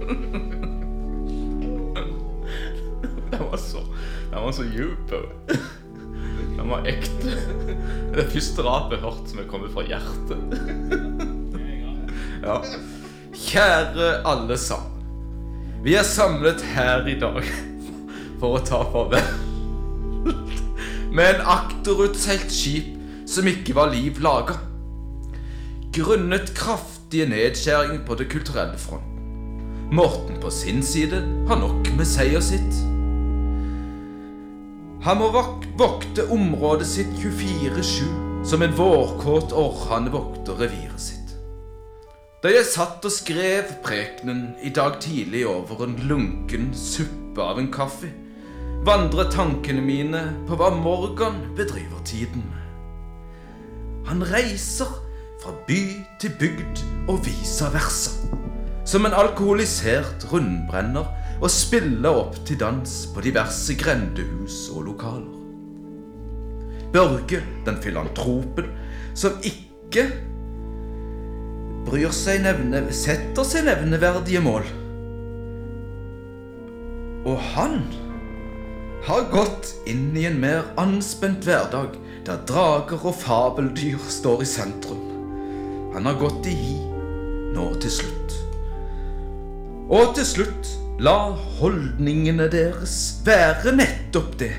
Den var så Den var så djup. vet du. Den var ekte. Det er det første rapet jeg har hørt som er kommet fra hjertet. Ja. Kjære alle sammen. Vi er samlet her i dag for å ta farvel med en akterutseilt skip som ikke var liv laga. Grunnet kraftige nedskjæringer på det kulturelle fronten. Morten på sin side har nok med seier sitt. Han må vok vokte området sitt 24-7 som en vårkåt orrhane vokter reviret sitt. Da jeg satt og skrev prekenen i dag tidlig over en lunken suppe av en kaffe, vandrer tankene mine på hva Morgan bedriver tiden med. Han reiser fra by til bygd og viser versa. Som en alkoholisert rundbrenner og spiller opp til dans på diverse grendehus og lokaler. Børge, den filantropen, som ikke bryr seg nevne, setter seg nevneverdige mål. Og han har gått inn i en mer anspent hverdag, der drager og fabeldyr står i sentrum. Han har gått i hi, nå til slutt. Og til slutt, la holdningene deres være nettopp det.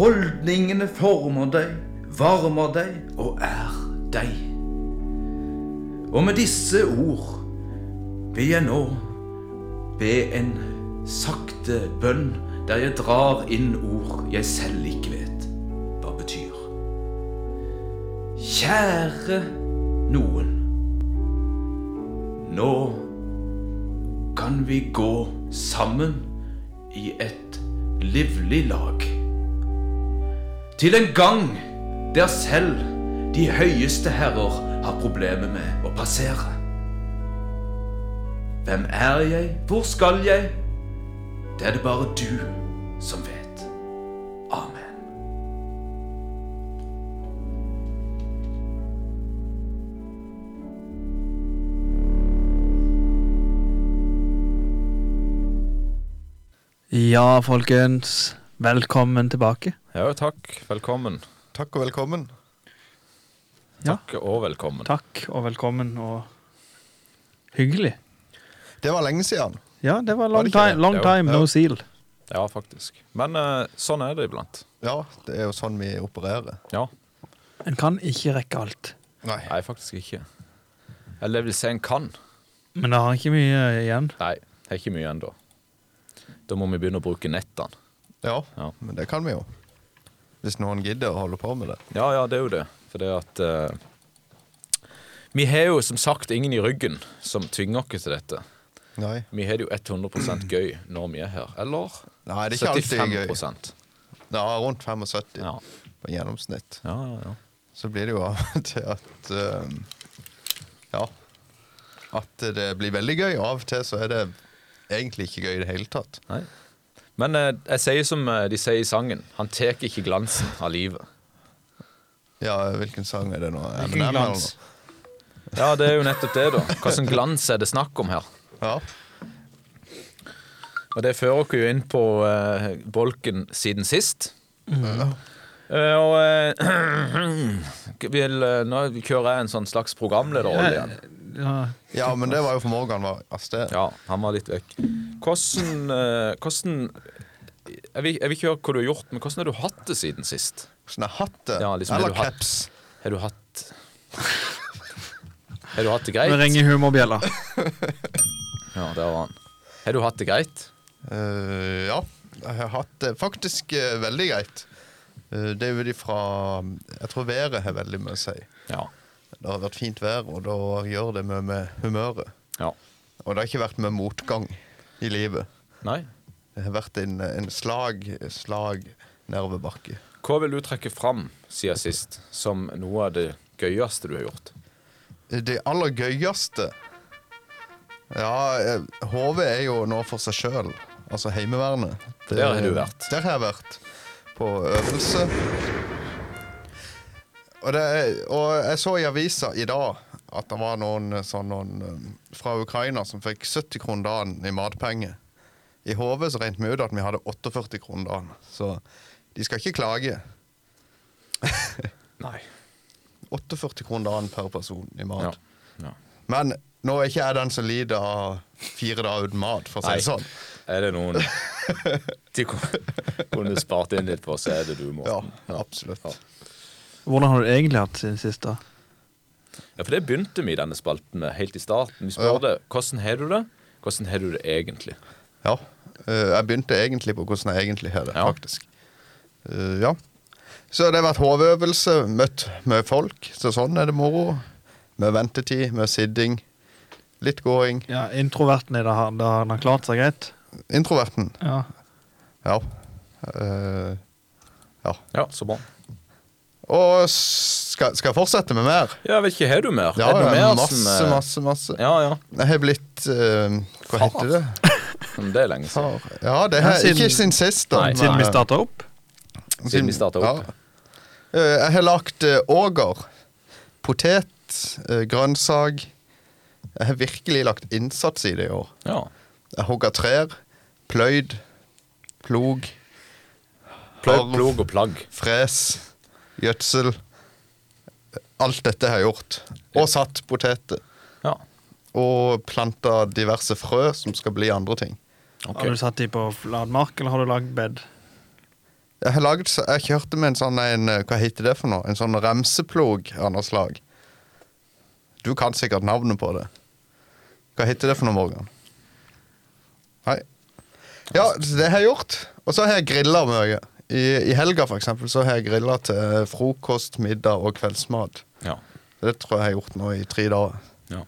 Holdningene former deg, varmer deg og er deg. Og med disse ord vil jeg nå be en sakte bønn der jeg drar inn ord jeg selv ikke vet hva betyr. Kjære noen. Nå kan vi gå sammen i et livlig lag. Til en gang der selv de høyeste herrer har problemer med å passere. Hvem er jeg? Hvor skal jeg? Det er det bare du som vet. Amen. Ja, folkens. Velkommen tilbake. Ja, takk. Velkommen. Takk og velkommen. Ja. Takk og velkommen. Takk og velkommen og hyggelig. Det var lenge siden. Ja, det var Var long det ikke time, det? long Jo, time ja. no seal. Ja, faktisk. Men eh, sånn er det iblant. Ja, det er jo sånn vi opererer. Ja. En kan ikke rekke alt. Nei. Nei, faktisk ikke. Eller det vil si en kan. Men det har ikke mye igjen. Nei, det er ikke mye ennå. Da må vi begynne å bruke nettene. Ja, Ja. men det kan vi jo. Hvis noen gidder å holde på med det. Ja, ja, det er jo det. For det at eh, Vi har jo som sagt ingen i ryggen som tvinger oss til dette. Nei. Vi har det jo 100 gøy når vi er her. Eller Nei, det er ikke alltid gøy. 75 Ja, rundt 75 Ja. på gjennomsnitt. Ja, ja, ja. Så blir det jo av og til at ehm, Ja. At det blir veldig gøy, og av og til så er det egentlig ikke gøy i det hele tatt. Nei. Men eh, jeg sier som eh, de sier i sangen. Han tar ikke glansen av livet. Ja, hvilken sang er det nå? Hvilken Eminem eller glans? noe? Ja, det er jo nettopp det, da. Hva slags glans er det snakk om her? Ja. Og det fører oss jo inn på eh, bolken siden sist. Eh, og eh, vil, eh, Nå kjører jeg en sånn slags programlederrolle igjen. Ja, ja, men det var jo for Morgan var av sted. Ja, han var litt vekk. Hvordan, eh, hvordan jeg, vil, jeg vil ikke høre hva du har gjort, men hvordan har du hatt det siden sist? Sånn er hatte. Ja, liksom, har eller du hatt- caps. Har du hatt Har du hatt det greit? Nå ringer humorbjella. Ja, der var han. Har du hatt det greit? Eh, ja, jeg har hatt det faktisk eh, veldig greit. Eh, det er jo de fra Jeg tror været har veldig mye å si. Ja. Det har vært fint vær, og da gjør det mye med humøret. ja. Og det har ikke vært mye motgang i livet. Nei? Det har vært en, en slag, slag nervebakke. Hva vil du trekke fram siden sist som noe av det gøyeste du har gjort? Det aller gøyeste Ja, eh, HV er jo nå for seg sjøl. Altså Heimevernet. For der har du vært. Der har jeg vært. På øvelse. Og, det er, og jeg så i avisa i dag at det var noen, eh, sånn, noen eh, fra Ukraina som fikk 70 kroner dagen i matpenger. I hodet så regnet vi ut at vi hadde 48 kroner dagen, så de skal ikke klage. Nei. 48 kroner dagen per person i mat. Ja. ja. Men nå er ikke jeg den som lider av fire dager uten mat, for å si det sånn. Altså, Er det noen De kunne kunne spart inn litt på, så er det du, Ja, Morten. absolutt. Ja. Hvordan har du egentlig hatt siden sist, da? Ja, for det begynte vi i denne spalten med helt i starten. Vi Ja. spurte hvordan har du det? Hvordan har du det egentlig? Ja. eh, jeg begynte egentlig på hvordan jeg egentlig har det, Ja. faktisk. Eh, ja. Så det har vært hodeøvelse, møtt med folk, så sånn er det moro. Med ventetid, med sitting. Litt gåing. Ja, Introverten i det her, da han har klart seg greit? Introverten. Ja. Ja. Eh, Ja, så bra. og s- skal, skal jeg fortsette med mer? Ja, jeg vet ikke, har du mer? Ja, er det noe mer masse, som, eh, masse, masse. Ja, ja. Jeg har blitt eh, Hva Far. heter det? Men det er lenge siden. Far. Ja, det Ja, her, siden- ikke sin sist, da. Nei. Siden vi starta opp? Siden vi startet opp. Ja. Eh, Jeg har lagt eh, åger, potet, eh, grønnsak. Jeg har virkelig lagt innsats i det i år. Ja. Jeg hogger trær, pløyd, plog, Plog, Arv. plog og plagg. fres, gjødsel. Alt dette har jeg gjort. Og satt poteter. Ja. Og planta diverse frø som skal bli andre ting. Ok. Har du satt de på flatmark, eller har du lagd bed? Jeg, har laget, så- jeg kjørte med en sånn en, eh, Hva heter det for noe? En sånn remseplog av noe slag. Du kan sikkert navnet på det. Hva heter det for noe, Morgan? Nei. Ja, så det har jeg gjort. Og så har jeg grilla mye. I, I helga, for eksempel, så har jeg grilla til frokost, middag og kveldsmat. Ja. Det tror jeg jeg har gjort nå i tre dager. Ja.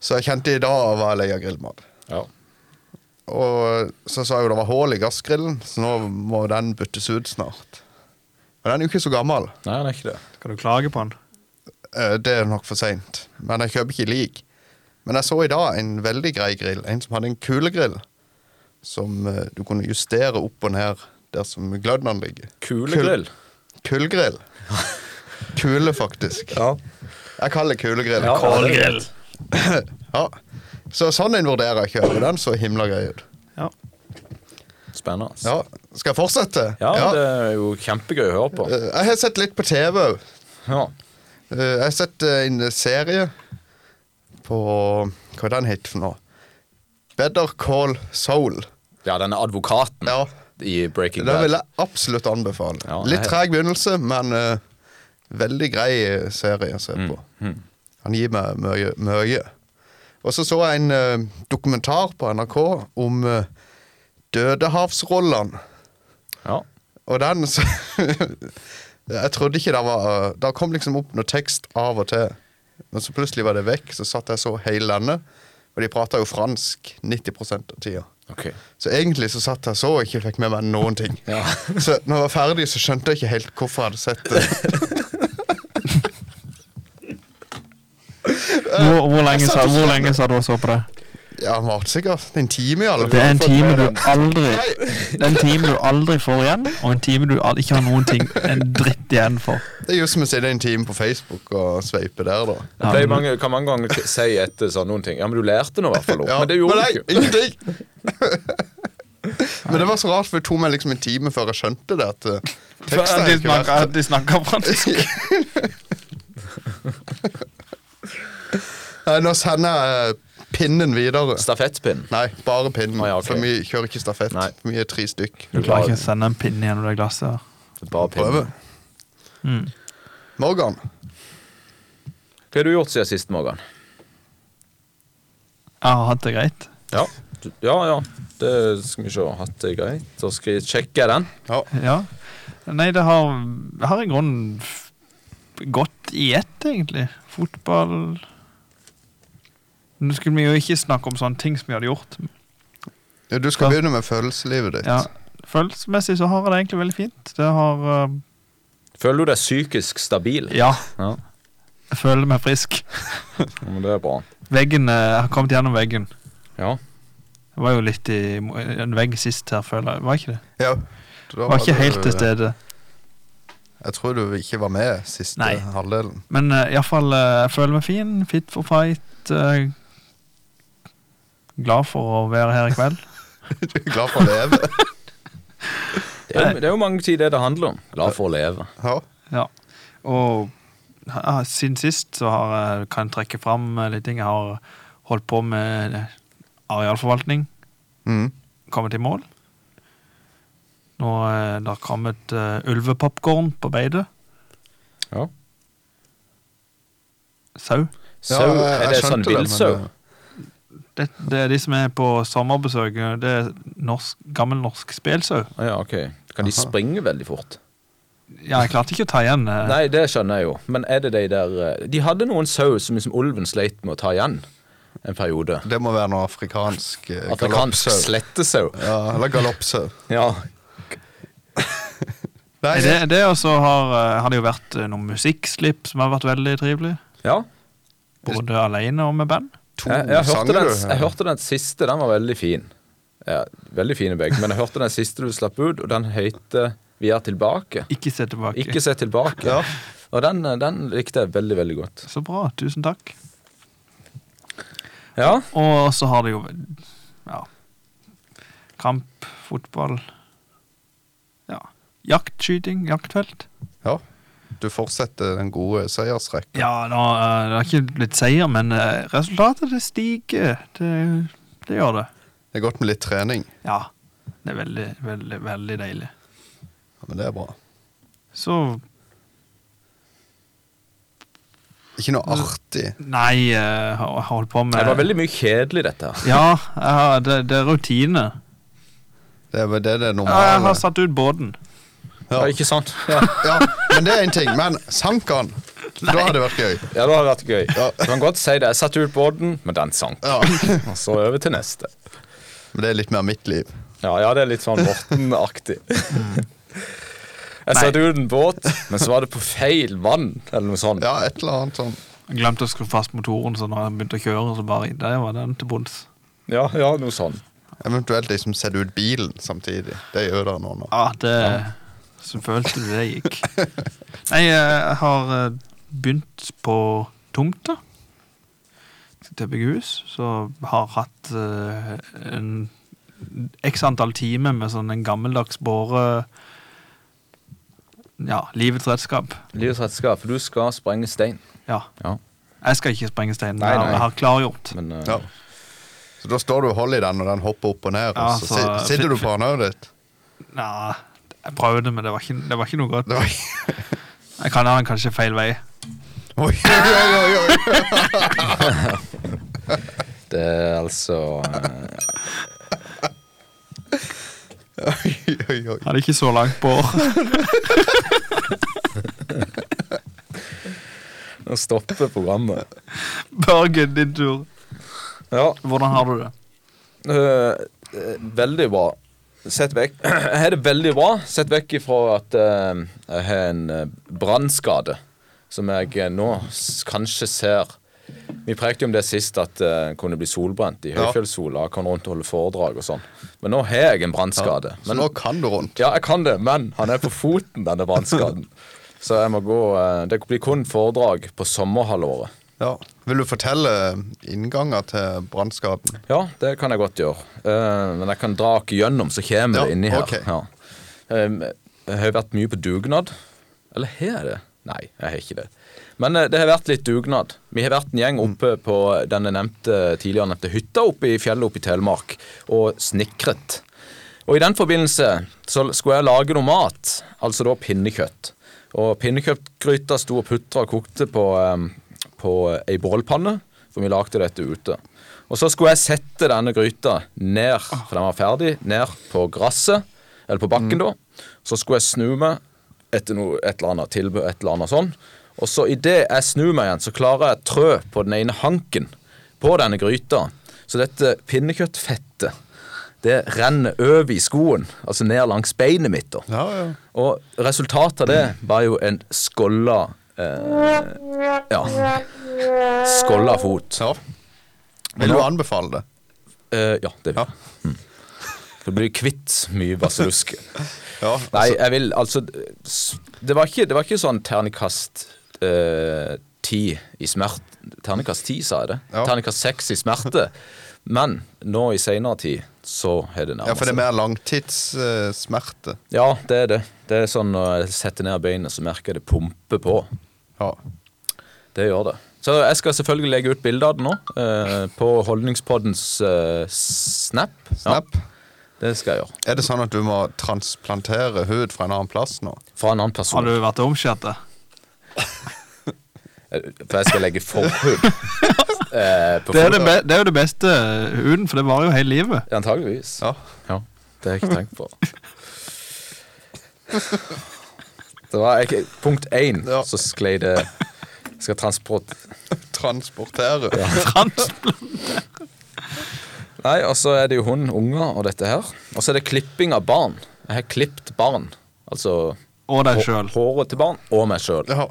Så jeg kjente i dag var jeg lei av grillmat. ja. Og så sa jeg jo det var hull i gassgrillen, så nå må den byttes ut snart. Men den er jo ikke så gammel. Nei, han er ikke det. Skal du klage på han? Eh, Det er nok for seint. Men jeg kjøper ikke lik. Men jeg så i dag en veldig grei grill. En som hadde en kulegrill. Som eh, du kunne justere opp og ned der som glødden ligger. Kulegrill. Kullgrill. Kule, faktisk. Ja. Jeg kaller det kulegrill. Ja, Kålgrill. Ja. Så sånn en vurderer jeg å kjøpe. Den så himla grei ut. Ja. Spennende. ass. Ja. Skal jeg fortsette? Ja, det er jo kjempegøy å høre på. Eh, Jeg har sett litt på TV òg. Ja. Eh, Jeg har sett eh, en serie på Hva er den het for noe? Better Call Soul. ja, denne advokaten Ja, i Breaking Den vil Bad. jeg absolutt anbefale. Mm. Ja, Litt jeg- treg begynnelse, men eh, veldig grei eh, serie å se Mm, på. Han gir meg mye. mye. Og så så jeg en eh, dokumentar på NRK om eh, dødehavsrollene. Ja. Og den så Jeg trodde ikke det var Det kom liksom opp noe tekst av og til. Men så plutselig var det vekk. Så satt jeg så hele denne. Og de prata jo fransk 90 av tida. Ok. Så egentlig så satt jeg så og ikke fikk med meg noen ting. Ja. Så når jeg var ferdig, så skjønte jeg ikke helt hvorfor jeg hadde sett det. Hvor, hvor, lenge, jeg sa, satt og hvor så- lenge sa du og så på det? Ja, han varte sikkert en time, i alle Det er en fall. time du aldri Det er en time du aldri får igjen, og en time du al- ikke har noen ting en dritt igjen for. Det er jo som å sitte en time på Facebook og sveipe der, da. Det pleier mange, kan mange ganger k- si etter sånn noen ting. Ja, men du lærte nå i hvert fall noe. Ja, men det gjorde nei, du ikke. Ingenting. men det var så rart, for det tok meg liksom en time før jeg skjønte det. At eh, teksten er ikke verdt de snakker fransk. Nei, Nå sender jeg eh, pinnen videre. Stafettpinn. Nei, bare pinnen. Å, ja, ok. For vi kjører ikke stafett. Nei. For vi er tre stykk. Du klarer ikke å sende en pinne gjennom det glasset. her. Bare Prøve. pinnen. Mm. Morgan, Hva har du gjort siden sist, Morgan? Jeg har hatt det greit. Ja. Du- ja, ja. Det skal vi se. Hatt det greit. Da skal jeg sjekke den. Ja. Nei, det har, det har i grunnen f- gått i ett, egentlig. Fotball Nå skulle vi jo ikke snakke om sånne ting som vi hadde gjort. du skal Ja. begynne med følelseslivet ditt. Ja. Følelsesmessig så har jeg det egentlig veldig fint. Det har eh, Føler du deg psykisk stabil? Ja. Ja. Jeg føler meg frisk. Ja, Men det er bra. Veggen, eh, Jeg har kommet gjennom veggen. Ja. Det var jo litt i en vegg sist her, føler jeg. Var ikke det? Ja. Jeg var ikke helt til stede. Jeg tror du ikke var med siste Nei. halvdelen. Men eh, i hvert iallfall jeg føler meg fin, fit for fight. eh, glad for å være her i kveld. Du er glad for å leve. Det er, jo- det er jo mange tider det handler om. Glad for å leve. Ja. Ja. Og ja, siden sist så har jeg, kan jeg trekke fram eh, litt ting. Jeg har holdt på med eh, arealforvaltning. Mm. Kommet i mål. Nå eh, det har kommet uh, ulvepopkorn på beite. Ja. Sau. Sau? jeg- er jeg det sånn skjønte det, men villsau? det- Det, det er de som er på sommerbesøk. Det er norsk, gammel norsk spelsau. Å Ja, ok. Kan de springe veldig fort? Ja, jeg klarte ikke å ta igjen. eh, Nei, det skjønner jeg jo. Men er det de der eh, De hadde noen sau som liksom ulven sleit med å ta igjen en periode. Det må være noe afrikansk eh, Afrikansk galoppsau. slettesau. Ja, eller galoppsau. Ja. Nei, Er det, det og så har, eh, har det jo vært eh, noen musikkslipp som har vært veldig trivelig. ja. Både alene og med band. to Jeg, jeg, hørte sanger den, du. jeg hørte den siste, den var veldig fin. Ja, veldig fine begge, men jeg hørte den siste du slapp ut, og den heter Vi er tilbake. Ikke se tilbake. Ikke se tilbake. Ja. Og den, eh, den likte jeg veldig, veldig godt. Så bra, tusen takk. Ja. Og så har det jo ja, kamp, fotball Ja. Jaktskyting, jaktfelt. Ja. Du fortsetter den gode seiersrekka. Ja, nå, eh, det har ikke blitt seier, men eh, resultatet det stiger. Det, det gjør det. Det er godt med litt trening. Ja. Det er veldig, veldig, veldig deilig. Ja, Men det er bra. Så Ikke noe Mm. artig. Nei, eh, jeg har holdt på med Det var veldig mye kjedelig, dette her. Ja, jeg har, det, det er rutine. Det er vel det, det Ja, jeg normale. har satt ut båten. Ja. Ja, ikke sant? Ja. Ja, men det er én ting. Men sank han? Da hadde det vært gøy. Ja, det hadde vært gøy. Du kan godt si det. Jeg satte ut båten, men den sank. Ja. Og så over til neste. Men det er litt mer mitt liv. Ja, ja det er litt sånn Morten-aktig. Jeg satte ut en båt, men så var det på feil vann, eller noe sånt. Ja, et eller annet sånn. Jeg glemte å skru fast motoren, så når jeg begynte å kjøre, så bare Der var den til bunns. Ja, ja, noe sånt. Eventuelt de som setter ut bilen samtidig. Det gjør det nå. nå. Ja, Ah, det Så følte du det gikk. Nei, jeg har eh, begynt på tomta. Skal til å bygge hus. Så har hatt eh, en x antall timer med sånn en gammeldags båre Ja, livets redskap. Livets redskap, for du skal sprenge stein. Ja. Ja, Jeg skal ikke sprenge steinen. Nei, Jeg har- nei. jeg har klargjort. men eh, Ja. Så da står du og holder i den, og den hopper opp og ned. Ja, og så så- si- sitter du på håndøret ditt. Nja, jeg prøvde, men det var ikke, det var ikke noe godt. Det var... Jeg kan ha den kanskje feil vei. Oi, oi, oi, oi. det er altså eh, oi, oi, oi. Hadde ikke så langt på år. Nå stopper programmet. Børgen, din tur. Ja, Hvordan har du det? Eh, eh, veldig bra. Sett vekk Jeg har det veldig bra. Sett vekk ifra at eh, jeg har en uh, brannskade som jeg eh, nå s kanskje ser Vi prekte jo om det sist, at eh, jeg kunne bli solbrent i Ja. høyfjellssola. Jeg Kan rundt og holde foredrag og sånn. Men nå har jeg en brannskade. Så Men- nå kan du rundt. ja, jeg kan det, men han er på foten, denne brannskaden. Så jeg må gå eh, Det blir kun foredrag på sommerhalvåret. Ja. Vil du fortelle innganger til brannskaden? Ja, det kan jeg godt gjøre. Eh, men jeg kan dra dere gjennom, så kommer Ja, det inni her. ok. Ja. Em, jeg har vært mye på dugnad. Eller har jeg det? Nei, jeg har ikke det. Men eh, det har vært litt dugnad. Vi har vært en gjeng Mm. oppe på denne nevnte, tidligere nevnte hytta oppe i fjellet oppe i Telemark og snikret. Og i den forbindelse så skulle jeg lage noe mat, altså da pinnekjøtt. Og pinnekjøttgryta sto og putra og kokte på, em, på ei bålpanne, for vi lagde dette ute. Og så skulle jeg sette denne gryta ned, for den var ferdig, ned på gresset, eller på bakken da. Så skulle jeg snu meg etter noe, et eller annet tilbud, et eller annet sånn. Og så idet jeg snur meg igjen, så klarer jeg å trø på den ene hanken på denne gryta. Så dette pinnekjøttfettet, det renner over i skoen, altså ned langs beinet mitt da. Ja, ja. Og resultatet av det var jo en skålla eh, Ja. Skålla fot. ja. Vil du anbefale det? Eh, ja, det vil jeg. Ja. Mm. Så blir du kvitt mye basillusk. Ja, Nei, altså, jeg vil altså s- Det var ikke, det var ikke sånn ternekast eh, ti i smerte. Ternekast ti, sa jeg det. Ja. Ternekast seks i smerte. Men nå i seinere tid så har det ja, nærmet for det er mer langtidssmerte. Ja, det er det. Det er sånn når jeg setter ned beinet, så merker jeg det pumper på. ja. Det gjør det. Så jeg skal selvfølgelig legge ut bilde av det nå. Eh, på Holdningspoddens eh, Snap. Snap. Ja, det skal jeg gjøre. Er det sånn at du må transplantere hud fra en annen plass nå? Fra en annen Har person. du vært omskjært? da? Eh, For jeg skal legge forhud. eh, på Det er, det, fotoet. be, det er jo det beste eh, huden, for det varer jo hele livet. Antageligvis. Ja. Ja, det har jeg ikke tenkt på. Det var ikke, punkt én, Ja. så sklei det Skal transport Transportere? Transplant. Nei, og så er det jo hun, unger og dette her. Og så er det klipping av barn. Jeg har klippet barn. Altså Og deg hå- sjøl. håret til barn og meg sjøl. Ja.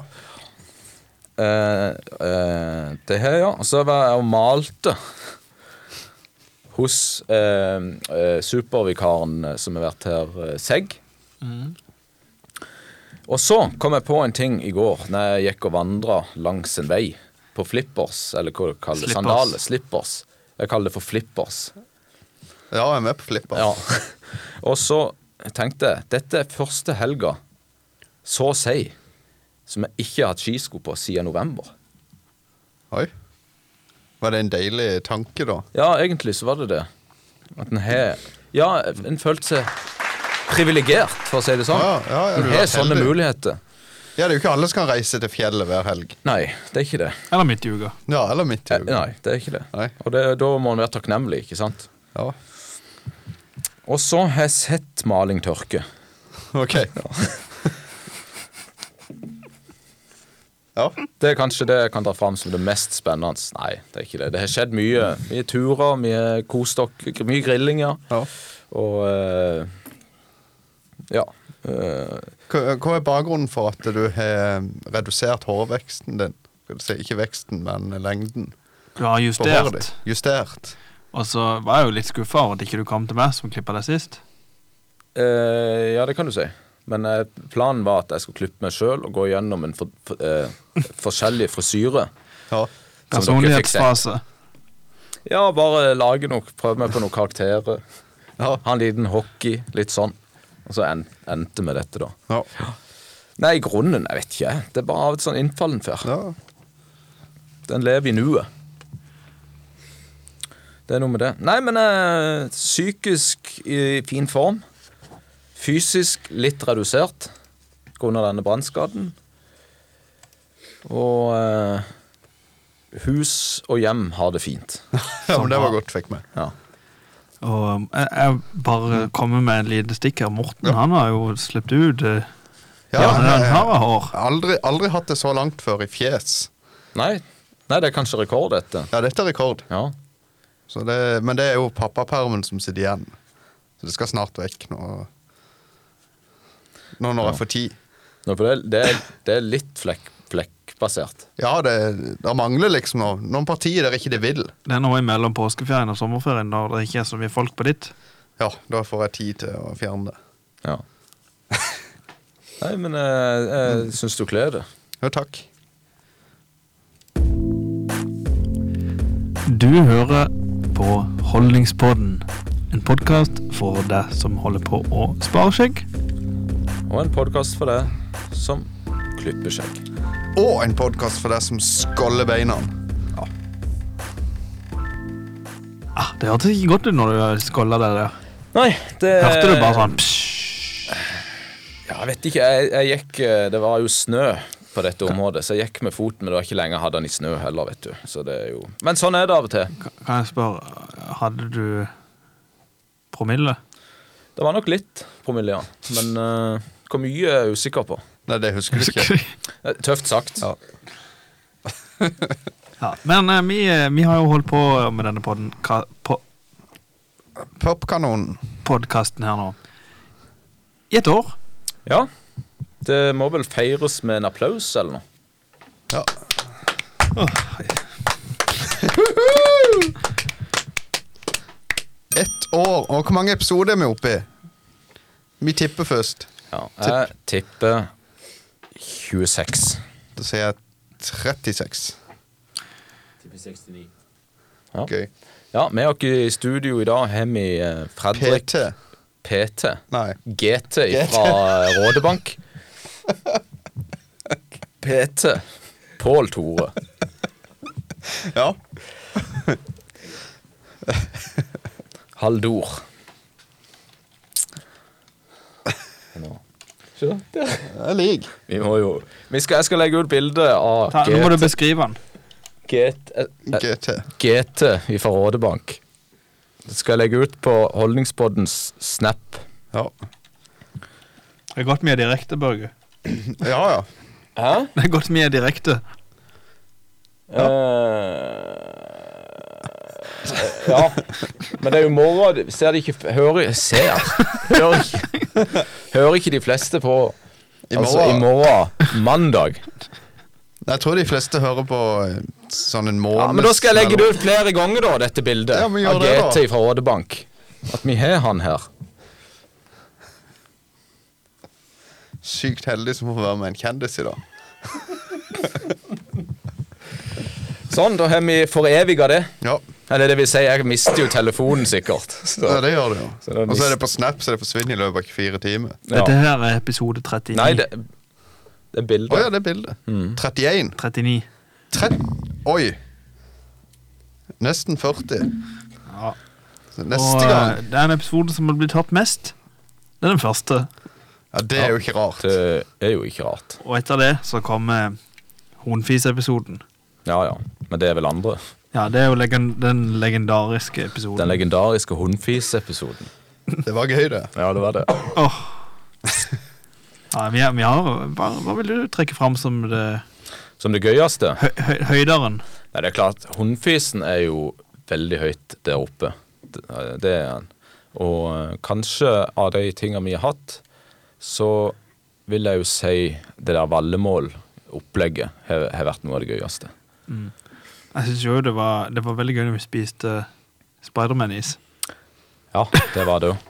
Eh, eh, det her, ja. Og så var jeg og malte hos eh, eh, supervikaren eh, som har vært her, eh, Segg. Og så kom jeg på en ting i går når jeg gikk og vandra langs en vei på flippers, eller hva du kaller det, Slippers. sandaler. Slippers. Jeg kaller det for flippers. ja, jeg er med på flipper. Ja. Og så tenkte jeg dette er første helga, så å si, som jeg ikke har hatt skisko på siden november. Oi. Var det en deilig tanke, da? Ja, egentlig så var det det. At en har Ja, en følte seg privilegert, for å si det sånn. Ja, ja, ja, en du har var sånne heldig. muligheter. Ja, det er jo ikke alle som kan reise til fjellet hver helg. Nei, det er ikke det. Eller midtjuga. Ja, eller midt i Eh, uka. Nei, det er ikke det. Nei. Og det, da må en være takknemlig, ikke sant? Ja. Og så har jeg sett maling tørke. Ok. Ja. Det er kanskje det jeg kan ta fram som det mest spennende. Nei, det er ikke det. Det har skjedd mye. Mye turer, mye kosdokk, mye grillinger. ja. Og eh, ja. eh, Hva hva er bakgrunnen for at du har eh, redusert hårveksten din? Skal du si, ikke veksten, men lengden Du har på håret justert. ditt. Justert. Og så var jeg jo litt skuffa over at ikke du kom til meg som klippa deg sist. eh, ja, det kan du si. Men eh, planen var at jeg skulle klippe meg sjøl og gå gjennom en for, for, eh, forskjellig frisyre. Ja. Som dere fikk se. Personlighetsfase. Ja, bare lage noe, prøve meg på noen karakterer. Ja. Ha en liten hockey, litt sånn. Og så en, endte med dette, da. Ja. Nei, i grunnen, jeg vet ikke. jeg. Det er bare av et sånn innfallen før. ja. Den lever i nuet. Det er noe med det. Nei, men eh, psykisk i fin form. Fysisk litt redusert grunnet denne brannskaden. Og eh, hus og hjem har det fint. ja men det var godt du fikk med. Ja. Og um, jeg, jeg bare kommer med et lite stikk her. Morten han har jo sluppet ut eh, Ja, ja, men han jeg- har hår. Aldri, aldri hatt det så langt før i fjes. Nei, nei, det er kanskje rekord, dette. Ja, dette er rekord. Ja. Så det, men det er jo pappapermen som sitter igjen. Så det skal snart vekk nå. Nå når jeg får tid. Nå, for det, det, er, det er litt flekk, flekkbasert. Ja, det, det mangler liksom noe. noen partier der ikke det vil. Det er noe mellom påskeferien og sommerferien når det ikke er så mye folk på ditt. Ja, da får jeg tid til å fjerne det. Ja. Nei, men eh, jeg syns du kler det. Jo, takk. Du hører på Holdningspodden, en podkast for deg som holder på å spare skjegg. Og en podkast for deg som klipper skjegg. Og en podkast for deg som skåller beina. Ah, det hørtes ikke godt ut når du skåla deg der. Nei, det Hørte du bare sånn psj. Ja, jeg vet ikke. Jeg, jeg gikk eh, Det var jo snø på dette området, så jeg gikk med foten, men det var ikke lenge jeg hadde den i snø heller, vet du. Så det er jo Men sånn er det av og til. Kan jeg spørre, hadde du promille? Det var nok litt promille, ja. Men eh, hvor mye er jeg usikker på. Nei, det husker du ikke. Eh, Tøft sagt. Ja. Ja, men eh, vi, eh, vi har jo holdt på med denne podden, ka, po, Popkanonen. podkasten her nå i et år. ja. Det må vel feires med en applaus eller noe. Ja. Åh, Ett år. Og hvor mange episoder er vi oppe i? Vi tipper først. Ja, jeg tipper 26. Da sier jeg 36. Tipper 69. Ja. Gøy. Ja, med oss i studio i dag har vi eh, Fredrik PT. PT. Nei. GT fra Rådebank. PT. Pål Tore. Ja. Haldor. Nå. Jeg liker. Vi må jo vi skal, Jeg skal legge ut bilde av Ta, nå må du GT, beskrive den. GT, eh, GT. GT fra Rådebank. Det skal jeg legge ut på Holdningspoddens Snap. Ja. Det er godt vi er direkte, Børge. ja, ja. Hæ? Det er godt vi er direkte. Ja. Eh, ja. Men det er jo moro. Ser de ikke f- Hører Ser. Hører ikke, hører ikke de fleste på I Altså, morgen- i morgen. Mandag. Jeg tror de fleste hører på eh, sånn en måned Ja, men da skal jeg legge det ut flere ganger, da, dette bildet. Ja, men gjør av det da. GT fra Ådebank. At vi har han her. Sykt heldig som får være med en kjendis i dag. Sånn, da har vi foreviga det. Ja, Eller det vil si, jeg mister jo telefonen, sikkert. Så. ja det gjør det jo. Så det er Og så er mist- det på Snap, så det forsvinner i løpet av fire timer. Ja. Dette her er episode 39. Nei, det, det er Å ja, bildet. det er bildet. Mm. 31. 39. Tre... Oi. Nesten 40. Ja. Så Og Neste eh, gang det er en episode som har blitt hørt mest. Det er den første. Ja, det er jo ikke rart. Det er jo ikke rart. Og etter det så kommer Hornfis-episoden. Ja ja. Men det er vel andre. Ja, det er jo legen, den legendariske episoden. Den legendariske hundfis-episoden. Det var gøy, det. Ja, det var det. Åh. Ja, vi, er- vi har, hva, hva vil du trekke fram som det Som det gøyeste? hø, hø, høyderen? Nei, det er klart, hundfisen er jo veldig høyt der oppe. Det, det er han. Og eh, kanskje av de tingene vi har hatt, så vil jeg jo si det der vallemål-opplegget har, har vært noe av det gøyeste. Jeg syns jo det var, det var veldig gøy når vi spiste eh, Spiderman-is. Ja, det var det òg.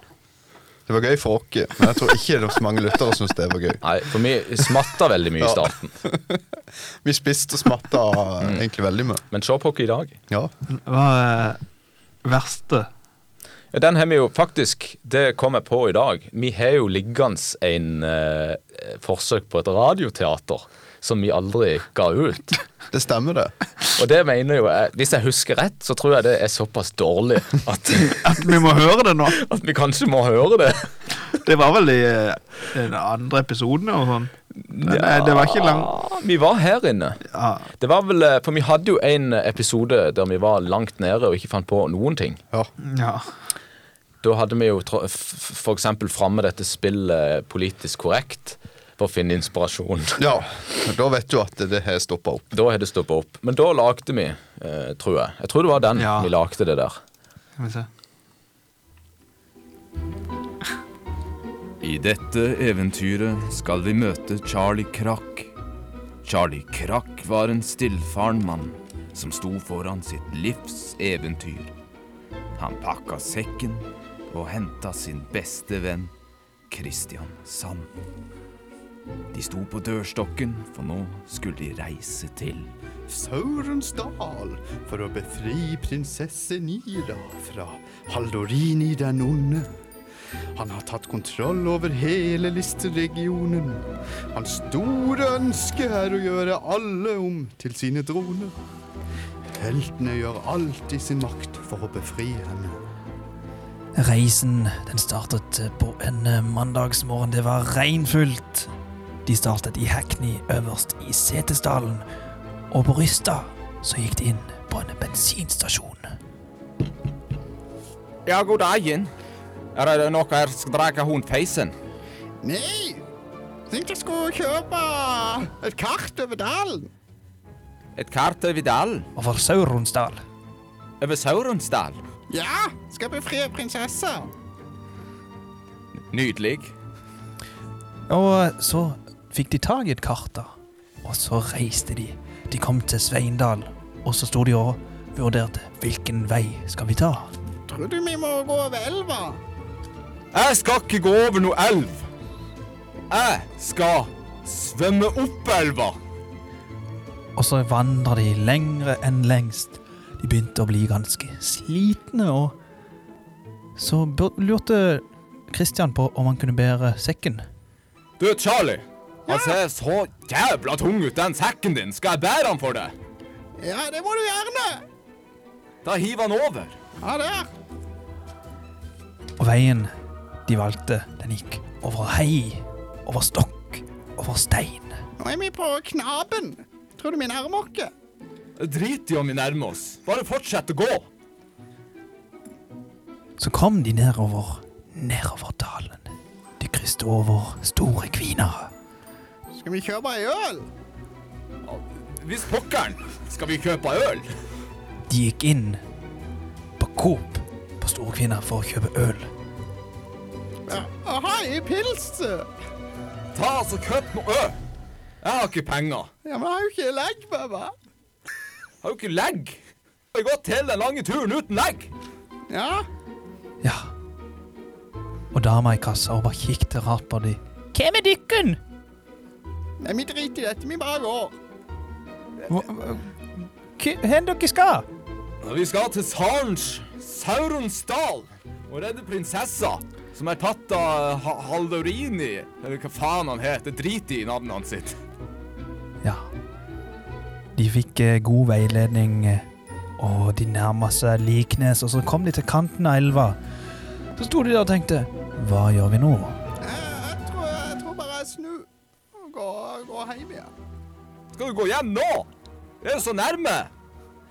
Det var gøy for oss, men jeg tror ikke det var så mange lyttere som syntes det var gøy. Nei, for vi smatta veldig mye i Ja. starten. Vi spiste og smatta egentlig veldig mye. Men se på oss i dag. Ja. Det var eh, verste. Ja, Den har vi jo faktisk Det kom jeg på i dag. Vi har jo liggende en eh, forsøk på et radioteater som vi aldri ga ut. Det stemmer, det. Og det mener jo jeg Hvis jeg husker rett, så tror jeg det er såpass dårlig at, At vi må høre det nå! at vi kanskje må høre det. Det var vel i eh, den andre episoden og sånn. Men eh, det var ikke langt Ja, Vi var her inne. ja. Det var vel, eh, For vi hadde jo en episode der vi var langt nede og ikke fant på noen ting. Ja. ja. Da hadde vi jo tro- f- f- for eksempel framme dette spillet Politisk korrekt for å finne inspirasjon. ja. Da vet du at det har stoppa opp. Da har det stoppa opp. Men da lagde vi, eh, tror jeg Jeg tror det var den Ja. vi lagde det der. Skal vi se. I dette eventyret skal vi møte Charlie Krakk. Charlie Krakk var en stillfaren mann som sto foran sitt livs eventyr. Han pakka sekken og henta sin beste venn Christian Sand. De sto på dørstokken, for nå skulle de reise til Saurens dal for å befri prinsesse Nida fra Haldorini den onde. Han har tatt kontroll over hele listeregionen. Hans store ønske er å gjøre alle om til sine droner. Heltene gjør alt i sin makt for å befri henne. Reisen den startet på en eh, mandagsmorgen. Det var regnfullt. De startet i Hackney, øverst i Setesdalen. Og på Rysta så gikk de inn på en bensinstasjon. Ja, god dagen. Er det noe jeg skal dra hundfeisen? Nei! Tenkte jeg skulle kjøpe et kart over dalen. Et kart over dalen? Over Sauronsdal. Over Sauronsdal? Ja, skal befri prinsessa. Nydelig. Og eh, så fikk de tak i et kart, da. Og så reiste de. De kom til Sveindal, og så sto de og vurderte hvilken vei skal vi ta. tror du vi må gå over elva? Jeg skal ikke gå over noe elv. Jeg skal svømme opp elva. Og så vandrer de lengre enn lengst. De begynte å bli ganske slitne, og så bur- lurte Christian på om han kunne bære sekken. Du, Charlie. Han ser så jævla tung ut, den sekken din. Skal jeg bære han for deg? Ja, det må du gjerne. Da hiver han over. Ja, der. Og veien de valgte, den gikk over hei, over stokk, over stein. Nå er vi på knaben. Tror du vi nærmer oss? Drit i om vi nærmer oss. Bare fortsett å gå. Så kom de nedover, nedover dalen. De kryste over store kviner. Skal vi kjøpe ei øl? Hvis pokkeren skal vi kjøpe øl. De gikk inn på Coop på store kvinner for å kjøpe øl. Ja. Hei, pils! Ta oss og kjøp noe øl. Jeg har ikke penger. Ja, men jeg har jo ikke legg, baba. Jeg har jo ikke legg. Jeg har gått hele den lange turen uten legg. Ja, Ja. Og dama i kassa og bare kikket rart på de. Hvem er dykken? Nei, vi driter i dette. Vi bare går. Hvor dere skal? Vi skal til Sarens Saurons dal og redde prinsessa, som er tatt av ha Haldorini, eller hva faen han heter. Drit i navnet hans sitt. Ja. De fikk eh, god veiledning, eh, og de nærma seg Liknes, og så kom de til kanten av elva. Så sto de der og tenkte Hva gjør vi nå? Jeg, jeg, tror, jeg tror bare jeg snur og går, går hjem igjen. Skal du gå hjem nå? Det er jo så nærme.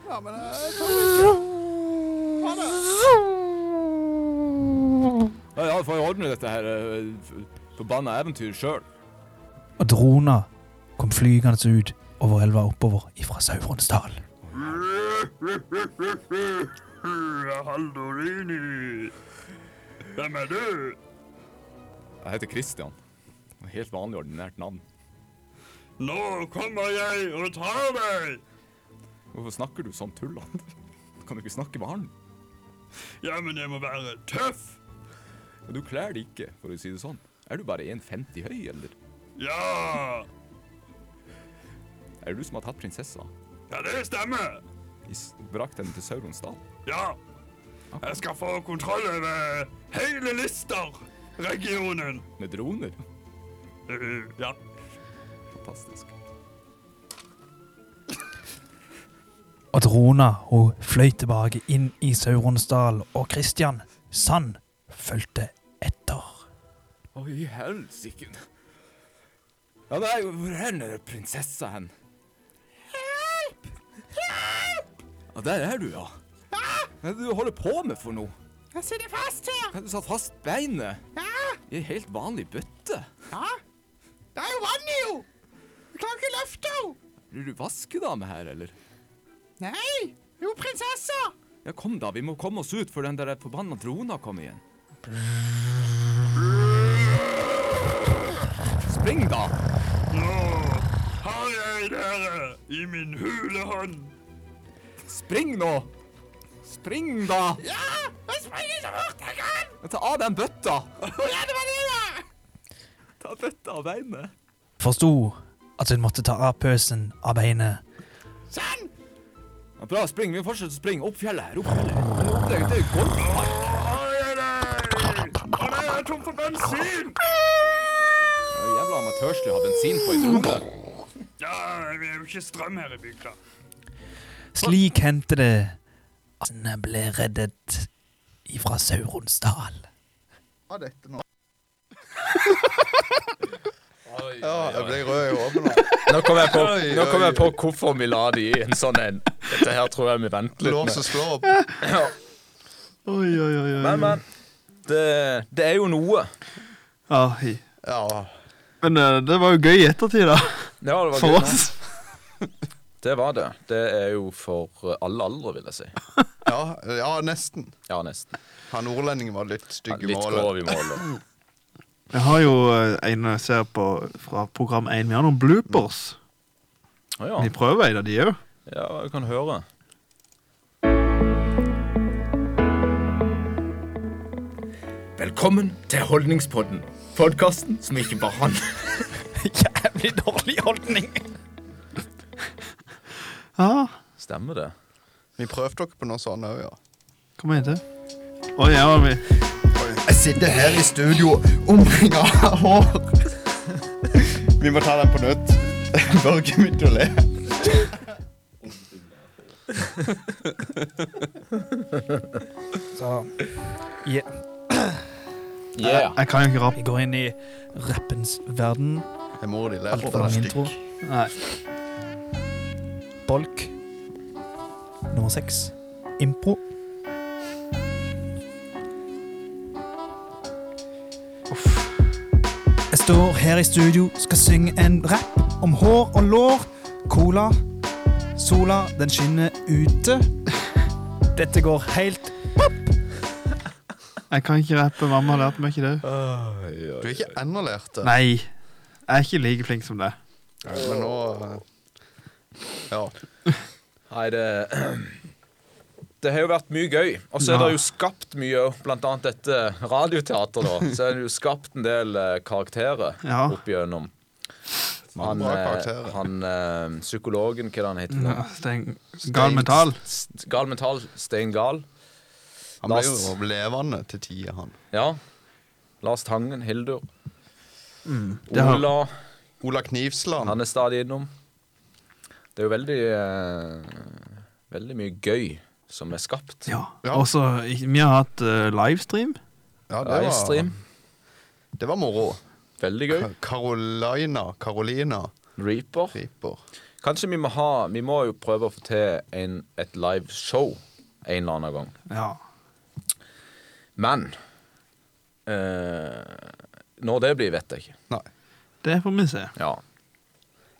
Ja, men eh, jeg tror ikke. Ha det. Ja, ja, får jeg ordne dette her eh, f- forbanna eventyret sjøl. Og droner kom flygende ut over elva oppover ifra Sauronsdal. Jeg heter Christian. Helt vanlig ordinært navn. Nå kommer jeg og tar deg! Hvorfor snakker du sånn tullete? Kan du ikke snakke med han? Ja, men jeg må være tøff! Du kler det ikke, for å si det sånn. Er du bare 1,50 høy, eller? Ja! Er det du som har tatt prinsessa? Ja, det stemmer. I s- Brakt henne til Saurons dal? Ja. Jeg skal få kontroll over hele Lister-regionen. Med droner? Uh, ja. Fantastisk. Og Drona hun fløy tilbake inn i Sauronsdal, og Kristian Sand fulgte etter. Å, i helsike. Ja, nei, hvor er den der prinsessa hen? Hjelp! Hjelp! Ja, der er du, ja. Hva er det du holder på med for noe? Jeg sitter fast her. Hva er det Du satt fast beinet Ja, i en helt vanlig bøtte. ja. Det er jo vann i henne. Jeg klarer ikke å løfte henne. Blir du vaskedame her, eller? Nei, jo, prinsessa. Ja, kom da, vi må komme oss ut før den der forbanna drona kommer igjen. Spring, da! Nå har jeg dere i min hulehånd. Spring nå! Spring, da! Ja, jeg springer så fort jeg kan. Ta av den bøtta! Ja, det var det, ja. Ta bøtta av beinet. Forsto at hun måtte ta av pøsen av beinet. Sånn. Ja, bra, spring. Vi fortsetter å springe opp fjellet her. Opp fjellet. Men opp der, det er jo golfpark. Nå har jeg deg! Å nei, jeg er tom for bensin! Det er Jævla amatørslig å ha bensin på i drone. Ja, vi har jo ikke strøm her i bygda. Slik hendte det at han ble reddet ifra Sauronsdal. Hva er dette nå? Ja, jeg ble rød i hodet nå. Nå kom jeg på, Oi, nå kom jeg oi, på hvorfor vi la de i en sånn en. Dette her tror jeg vi venter litt med. Låset slår opp. Oi, oi, oi, oi. Men, men. Det, det er jo noe. Ai. Ja. Men eh, det var jo gøy i ettertid, da. Ja, det var For gøy, da. oss. Det var det. Det er jo for alle aldre, vil jeg si. Ja, ja, nesten. Ja, nesten. Han nordlendingen var litt stygg i Litt målet. grov i målet. Jeg har jo eh, en jeg ser på fra program 1. Vi har noen bloopers. Å ja. Vi prøver en av de òg. ja, du kan høre. Velkommen til Holdningspodden. Podkasten som ikke bare han Jævlig dårlig holdning. Ja, Stemmer det? Vi prøvde dere på noe sånt òg, ja. kom igjen til. Oi, her var vi. Jeg sitter her i studio omringa av hår. Vi må ta den på nytt. Børge begynte å le. Så Yeah. Jeg kan jo ikke rappe. vi går inn i rappens verden. Det er mora di ler Alt på for lang plastikk. intro. Nei. Bolk. Nummer seks. Impro. Jeg står her i studio, skal synge en rap om hår og lår. Cola. Sola, den skinner ute. Dette går helt Jeg kan ikke rappe. Mamma har lært meg ikke det. Du er ikke ennå lært det. Nei. Jeg er ikke like flink som deg. Men nå eh, Ja. Nei, det Det har jo vært mye gøy. Og så er det jo skapt mye, blant annet dette radioteateret, da. Så er det jo skapt en del eh, karakterer Ja. opp igjennom. Han, Bra eh, karakterer. han eh, psykologen, hva er det han heter? for noe? Ja, Steng. Mm. Gal mental. S- s- Gal mental. Stein Gal. Han ble Lars- jo levende til tider, han. Ja. Lars Tangen. Hildur. det har- Ola. Ola Knivsland. Han er stadig innom. Det er jo veldig eh, Veldig mye gøy som er skapt. Ja. Ja. Og så Vi har hatt eh, livestream. Ja, det var, Livestream. det var moro. Veldig gøy. Carolina Carolina Reaper. Reaper. Kanskje vi må ha Vi må jo prøve å få til en, et liveshow en eller annen gang. Ja. Men eh, Når det blir, vet jeg ikke. Nei. Det får vi se. Ja,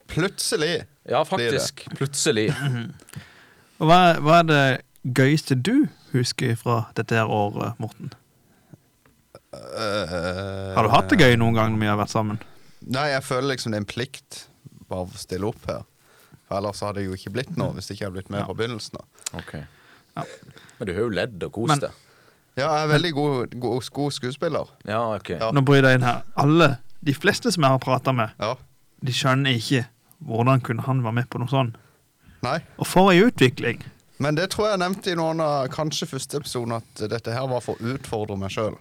Plutselig. ja faktisk. Plutselig. Og hva, hva er det gøyeste du husker fra dette her året, Morten? eh, Har du hatt det gøy noen gang når vi har vært sammen? Nei, jeg føler liksom det er en plikt bare for å stille opp her. For ellers hadde jeg jo ikke blitt noe hvis jeg ikke hadde blitt med fra begynnelsen av. Ok Ja. Men du har jo ledd Men- og kost deg. Ja, jeg er veldig god, god, god skuespiller. Ja, ok. Ja. Nå bryr jeg deg inn her. Alle, de fleste som jeg har prata med, Ja. de skjønner ikke hvordan kunne han være med på noe sånt. Nei. Og for ei utvikling! Men det tror jeg jeg nevnte i noen av kanskje første episode, at dette her var for å utfordre meg sjøl.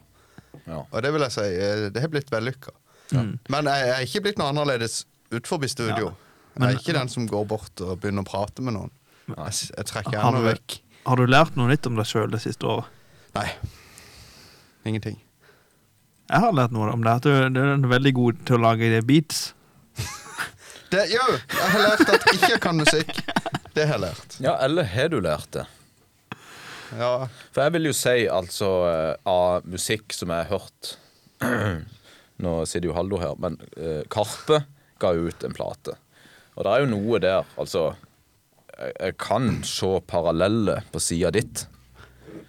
Ja. Og det vil jeg si, eh, det har blitt vellykka. Men jeg, jeg er ikke blitt noe annerledes utenfor studio. jeg er ikke den som går bort og begynner å prate med noen. Jeg, s- jeg trekker Har gjerne du, vekk. har du lært noe nytt om deg sjøl det siste året? Nei. Ingenting. Jeg har lært noe om det. At du, du er veldig god til å lage de beats. Det, jo, jeg har lært at jeg ikke kan musikk. Det har jeg lært. ja, eller har du lært det? Ja, For jeg vil jo si altså eh, av musikk som jeg har hørt Nå sitter jo Haldo her, men eh, Karpe ga jo ut en plate. Og det er jo noe der, altså Jeg, jeg kan se paralleller på sida ditt.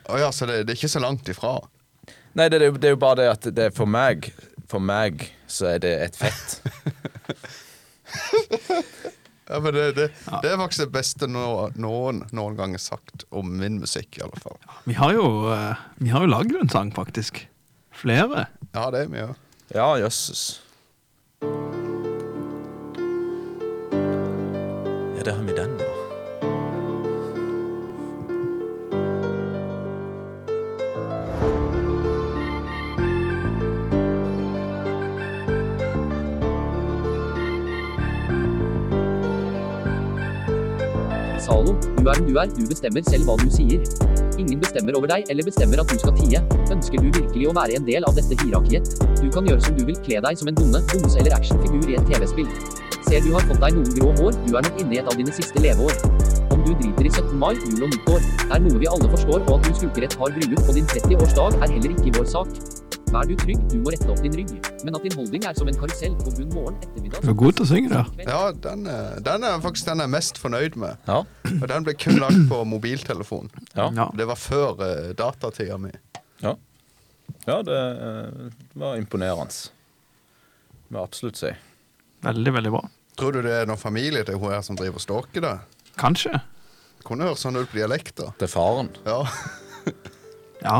Å ja så det, det er ikke så langt ifra. Nei, det, er jo- det er jo bare det at det er for meg For meg så er det et fett. Ja, men det, det, det er faktisk det beste nå, noen noen gang har sagt om min musikk, i alle fall. Vi har jo, eh, vi har jo lagd en sang, faktisk. Flere. Ja, det er mye. Ja, jøsses. Ja, der har vi den, da. Zalo, du er den du er, du bestemmer selv hva du sier. Ingen bestemmer over deg eller bestemmer at du skal tie. Ønsker du virkelig å være en del av dette hierarkiet? Du kan gjøre som du vil, kle deg som en bonde, bomse eller actionfigur i et TV-spill. Ser du har fått deg noen grå hår, du er nok inne i et av dine siste leveår. Om du driter i 17. mai, jul og nyttår, er noe vi alle forstår, og at du skulker et hard bryllup på din 30-årsdag er heller ikke vår sak. Vær du trygg, du må rette opp din rygg. Men at din holdning er som en karusell, på bunn morgen, ettermiddag Du er god til å synge der. Ja, den, er- den er faktisk den jeg er mest fornøyd med. Ja. Og den ble kun lagd på mobiltelefon. Ja. Ja. Det var før uh, datatida mi. Ja, ja det eh, var imponerende. Det må jeg absolutt si. Veldig, veldig bra. Tror du det er noen familie til hun her som driver og stalker deg? Kanskje. Kunne hørt sånn ut på dialekter. Til faren. Ja. Ja.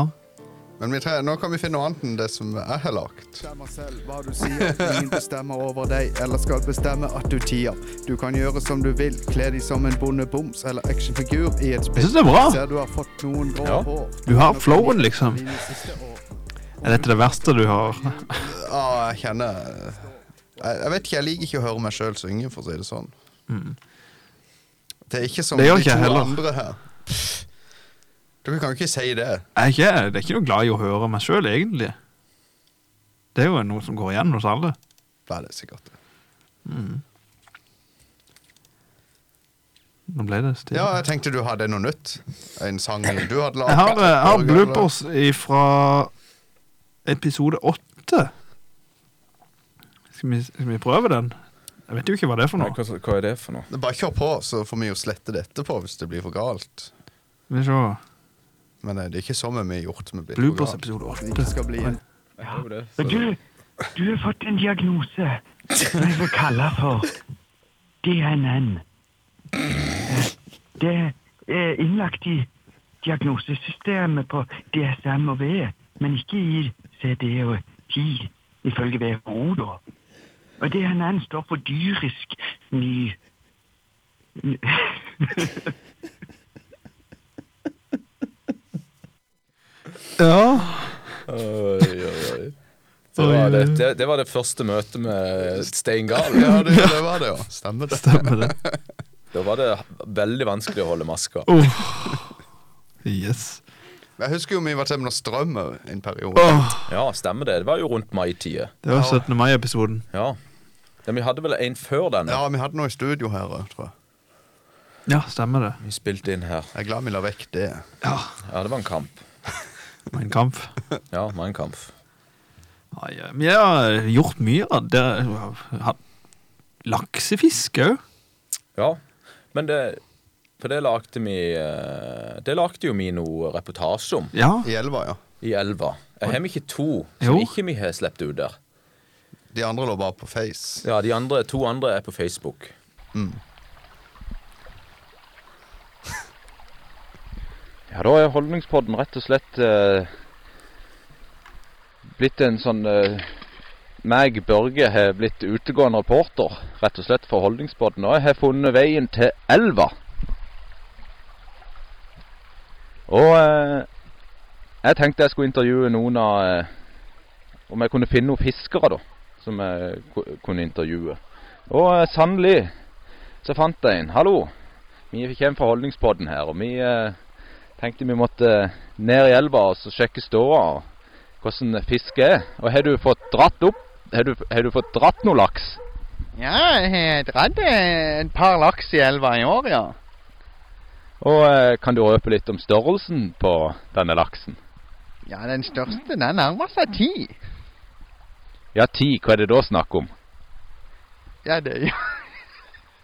Men vi tre, nå kan vi finne noe annet enn det som jeg har lagd. Bestemmer selv hva du sier. Ingen bestemmer over deg eller skal bestemme at du tier. Du kan gjøre som du vil. Kle deg som en bondeboms eller actionfigur i et spill. Jeg synes det er bra. Ser du har fått noen grå Ja. hår. Du har flowen, liksom. Er dette det verste du har? Ja, jeg kjenner jeg, jeg vet ikke, jeg liker ikke å høre meg sjøl synge, for å si det sånn. Mm. Det er ikke som Det gjør de ikke jeg to heller. andre her. Dere kan jo ikke si det. Jeg er ikke, det er ikke noe glad i å høre meg sjøl, egentlig. Det er jo noe som går igjen hos alle. Nei, det er sikkert det. Mm. Nå ble det stille. Ja, jeg tenkte du hadde noe nytt. En sang du hadde laget. Jeg har, eh, jeg har bloopers fra episode åtte. Skal vi, skal vi prøve den? Jeg vet jo ikke hva det er for noe. Hva, hva er det for noe? Bare kjør på, så får vi jo slette det etterpå hvis det blir for galt. Skal vi se. Men eh, det er ikke sånn vi har gjort. Vi blir Bloopers for galt. episode åtte. Ikke skal bli en Du, du har fått en diagnose som jeg vil kalle for DNN. Eh, Det er innlagt i diagnosesystemet på DSM og V, men ikke i CD og TI, ifølge WHO, da. Og DNN står for dyrisk ny... ny- Ja. Oi, oi, oi. Det var det, det, det var det første møtet med Stein Gahl. Ja, det, det var det, ja. Stemmer det. Da var det veldig vanskelig å holde maska. Yes. Jeg husker jo vi var til med noe strøm i en periode. Åh. Ja, stemmer det. Det var jo rundt mai-tida. Det var 17. mai-episoden. Ja. Ja, vi hadde vel en før denne. Ja, vi hadde noe i studio her, tror jeg. Ja, stemmer det. Vi spilte inn her. Jeg er glad vi la vekk det. Ja, det var en kamp. Mein Kampf. Ja, Mein Kampf. Ai, ai, Vi har gjort mye. da. Dere har hatt laksefiske òg. Ja. Men det For det lagde vi eh, Det lagde jo vi noe reportasje om Ja. I elva, ja. i elva. Jeg har vi ikke to Jo. som ikke vi har sluppet ut der. De andre lå bare på Face. Ja, de andre, to andre er på Facebook. Ja, da er holdningspodden rett og slett eh, blitt en sånn eh, meg, Børge, har blitt utegående reporter, rett og slett, for holdningspodden. Og jeg har funnet veien til elva. Og eh, jeg tenkte jeg skulle intervjue noen av eh, Om jeg kunne finne noen fiskere, da, som jeg ku- kunne intervjue. Og eh, sannelig så fant jeg en. Hallo. Vi kommer fra holdningspodden her, og vi eh, tenkte vi måtte ned i elva og så sjekke ståa og hvordan fisket er. Og har du fått dratt opp? Har du, har du fått dratt noe laks? Ja, jeg har dratt eh, et par laks i elva i år, ja. Og eh, kan du røpe litt om størrelsen på denne laksen? Ja, den største, den nærmer seg ti. Ja, ti. Hva er det da snakk om? Ja, det er jo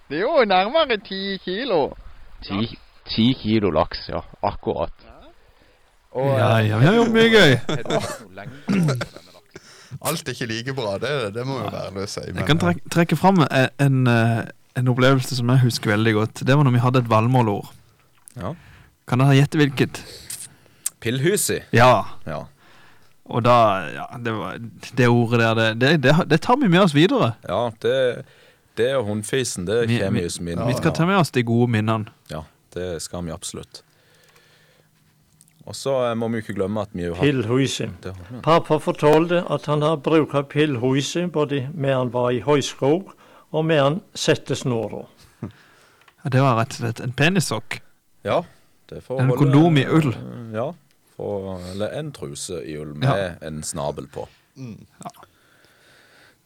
Det er jo nærmere ti kilo. Ti, ti kilo laks, ja. Akkurat. Ja, ja, vi har gjort mye gøy. Alt er ikke like bra, det, er det det må jo være det å si. Jeg kan trek trekke fram en, en, eh, en opplevelse som jeg husker veldig godt. Det var når vi hadde et valmålord. Ja. Kan dere gjette hvilket? Pillhusi. Ja. Ja. Og da ja, det, var, det ordet der, det, det, det, det tar vi med oss videre. ja det, det og hundfisen, det Vi, kommer vi, jo som inn. vi skal ta med oss de gode minnene. Ja, det skal vi absolutt. Og så eh, må vi jo ikke glemme at vi jo har Pillhuset. Det har vi. Pappa fortalte at han har brukt pillhuset både med han var i høyskog og med han sette snåra. Ja, Det var rett og slett en penissokk. Ja, det får En holde- Eh, kondom i ull. Ja. For, eller en truse i ull med en snabel på. Mm.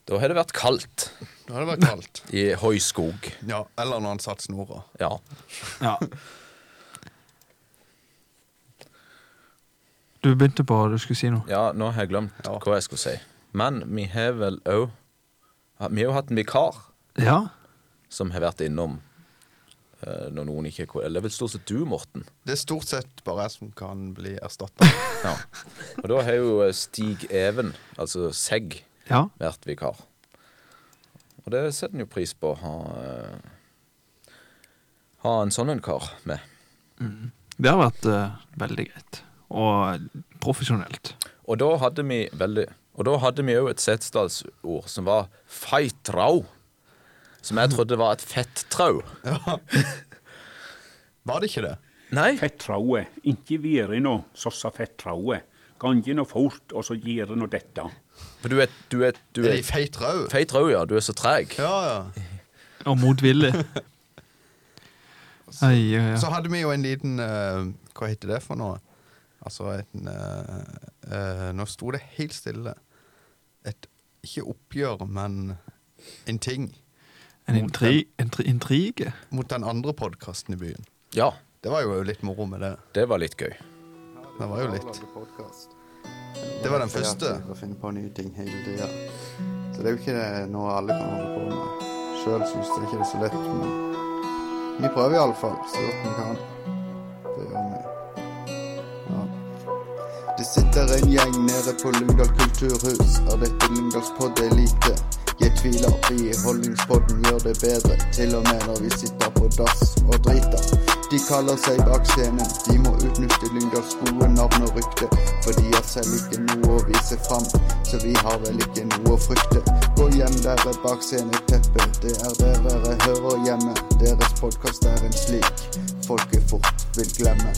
Da har det vært kaldt Da har det vært kaldt. i høyskog. Ja, eller når han satt snora. Ja. Ja. Du begynte på du skulle si noe. Ja, nå har jeg glemt hva jeg skulle si. Men vi har vel òg Vi har jo hatt en vikar Ja. som har vært innom eh, når noen ikke Eller vel stort sett du, Morten. Det er stort sett bare jeg som kan bli erstatta. Ja. Og da har jo eh, Stig Even, altså Segg, Ja. vært vikar. Og det setter en jo pris på å ha eh, Ha en sånn en kar med. Det har vært eh, veldig greit. Og profesjonelt. Og da hadde vi veldig Og da hadde vi òg et setesdalsord som var feitrau. Som jeg trodde var et fettrau. Var det ikke det? Nei. Fettraue. Ikke være noe sossa fettraue. Gange noe fort, og så gjøre noe dette. For du er, du er, du Er det i feit rau? Feit rau, ja. Du er så treg. Og motvillig. Ai, ai, ai. Så hadde vi jo en liten eh, Hva heter det for noe? Altså en eh, eh, Nå sto det helt stille. Et Ikke oppgjør, men en ting. En intri, intri, intrige. Mot den andre podkasten i byen. Ja. Det var jo litt moro med det. Det var litt gøy. Det var jo litt. Det var den første. Jeg finner på nye ting hele tida. Så det er jo ikke noe alle kan holde på med. Sjøl syns jeg ikke det er så lett, men vi prøver iallfall så godt vi kan. Det gjør vi. Ja. Det sitter en gjeng nede på Lyngdal kulturhus. Er dette Lyngdals podd elite? Jeg tviler, vi i Holdningspodden gjør det bedre. Til og med når vi sitter på dass og driter. De kaller seg bak scenen. De må utnytte Lyngdals gode navn og rykte. For de har selv ikke noe å vise fram, så vi har vel ikke noe å frykte. Gå hjem dere bak sceneteppet. Det er der dere hører hjemme. Deres podkast er en slik folket fort vil glemme.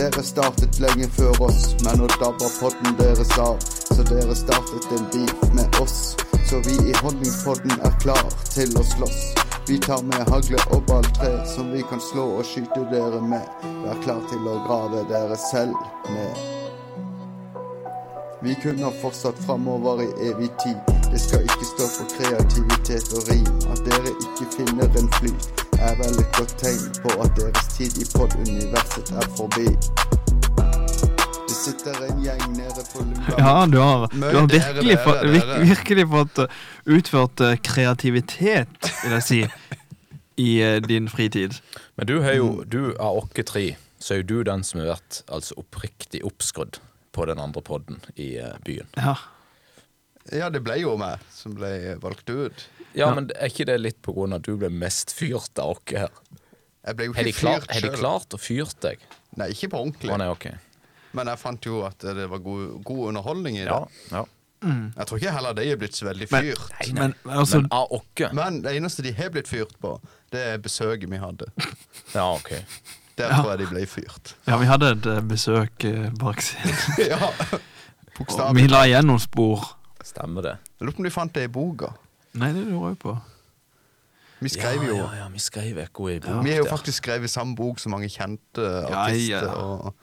Dere startet lenge før oss, men nå dabber podden deres av. Så dere startet en beef med oss. Så vi i Honningpodden er klar til å slåss. Vi tar med hagle og balltre som vi kan slå og skyte dere med. Vær klar til å grave dere selv ned. Vi kunne ha fortsatt framover i evig tid. Det skal ikke stå på kreativitet og rim. At dere ikke finner en flyt, er vel et godt tegn på at deres tid i pod-universet er forbi. Det sitter en gjeng nede på Lundberg Ja, du har, du Møt har dere, virkelig, dere, fått- vir, dere. virkelig fått eh, utført eh, kreativitet, vil jeg si, i eh, din fritid. Men du har Mm. jo, du av okke tre, så er jo du den som har vært altså oppriktig oppskrudd på den andre podden i eh, byen. Ja. Ja, det ble jo meg som ble valgt ut. Ja, men er ikke det litt på grunn av at du ble mest fyrt av oss her? Jeg ble jo Har de, ikke klar, fyrt har de selv. klart å fyrt deg? Nei, ikke på ordentlig. Å nei, ok. Men jeg fant jo at det var god, god underholdning i det. Ja, ja. Mm. Jeg tror ikke heller de er blitt så veldig Men- fyrt. Nei, nei. Men, altså- Men av okke. Men det eneste de har blitt fyrt på, det er besøket vi hadde. Ja, ok. Der Ja. tror jeg de ble fyrt. Ja, vi hadde et eh, besøk eh, bak scenen. ja. Og Vi la igjen noen spor. Stemmer det. Jeg lurer på om de fant det i boka. Nei, det lurer jeg på. Vi skrev jo Ja, ja, ja vi skrev ekko i bok Vi har jo der. faktisk skrevet samme bok som mange kjente Ja, artister ja. og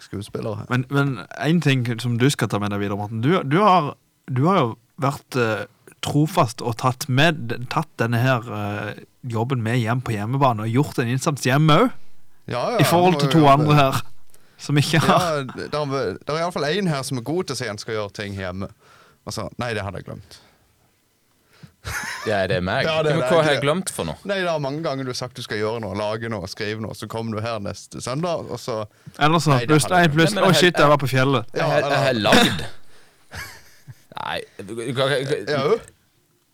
skuespillere. Men, men en ting som du skal ta med deg videre, Morten. Du, du, har, du har jo vært eh, trofast og tatt, med, tatt denne her eh, jobben med hjem på hjemmebane, og gjort en innsats hjemme òg. Ja, ja, I forhold må til jo to jobbe. andre her som ikke har Ja, det er iallfall én her som er god til å si han skal gjøre ting hjemme. Og så Nei, det hadde jeg glemt. Ja, er det meg? Ja, det er Men deg, hva har jeg det. glemt for noe? Nei, det er mange ganger du har sagt du skal gjøre noe, lage noe, skrive noe, så kommer du her neste søndag, og så Eller så Nei, det pluss hadde jeg én glemt. pluss Nei, men Å, shit, jeg var på fjellet. Ja, jeg, jeg har eller- lagd Nei Jo.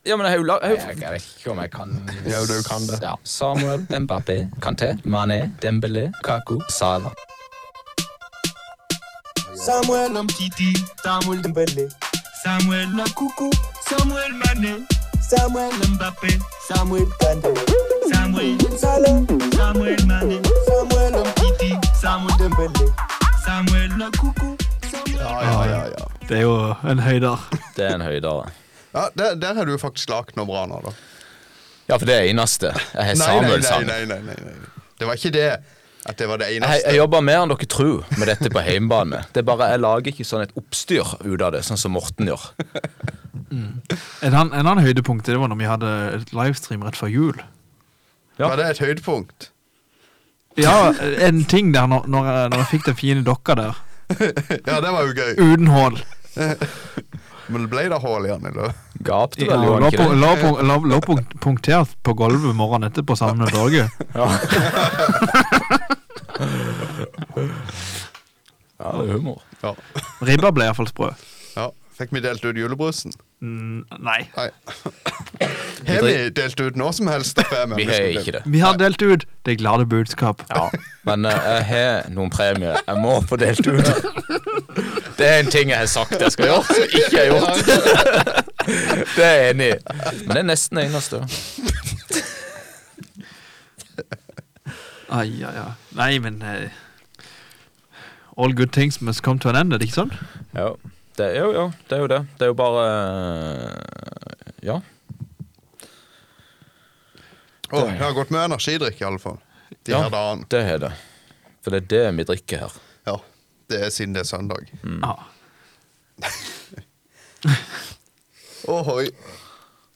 Ja, men jeg har jo lagd Jeg jeg vet ikke om jeg kan Ja, du kan det. Ja. Samuel Mbappé, Kanté, Mané, Dembélé, Kaku, Salah. Samuel Omtiti, Samuel Dembélé, Samuel Nakuku, Samuel Mané, Samuel Mbappé, Samuel Kanté, Samuel Salah, Samuel Mané, Samuel Omtiti, Samuel Dembélé, Samuel Nakuku, Ja, ja, ja. Det er jo en høyder. Det er en høydere. ja der, der har du faktisk lagd noe bra nå, da. Ja, for det er eneste. Jeg har Nei, nei, Samuel nei, sang. nei, nei, nei, nei. Det var ikke det at det var det Jeg, eneste. jeg jobber mer enn dere tror med dette på hjemmebane. Det er bare Jeg lager ikke sånn et oppstyr ut av det, sånn som Morten gjør. En annen, en annen høydepunkt det var når vi hadde et livestream rett før jul. Var det et høydepunkt? Ja, en ting der når, når, jeg, når jeg fikk den fine dokka der, ja, det var jo gøy. uten hull. Men ble det hull i den? eller? Gapte Ja, lå på- lå på- lå- lå punkt- punktert på gulvet morgenen etterpå sammen med Børge. Ja, det er humor. Ja. Ribba ble iallfall sprø. Ja, Fikk vi delt ut julebrusen? nei. Har vi delt ut noe som helst? Vi har ikke det. Vi har delt ut det glade budskap. Ja. Men eh, jeg har noen premier jeg må få delt ut. Det er en ting jeg har sagt jeg skal gjøre, som jeg ikke har gjort. Det er jeg enig i. Men det er nesten det eneste. Ai, ai, ai. Nei, men eh, All good things must come to an end, er det ikke sånn? Jo, det er jo, jo, det er jo det. Det er jo bare eh, Ja. Å, det har gått med energidrikk, i alle fall. De ja, her da, det har det. For det er det vi drikker her. ja, det er siden det er søndag. Mm. Mm. Ohoi.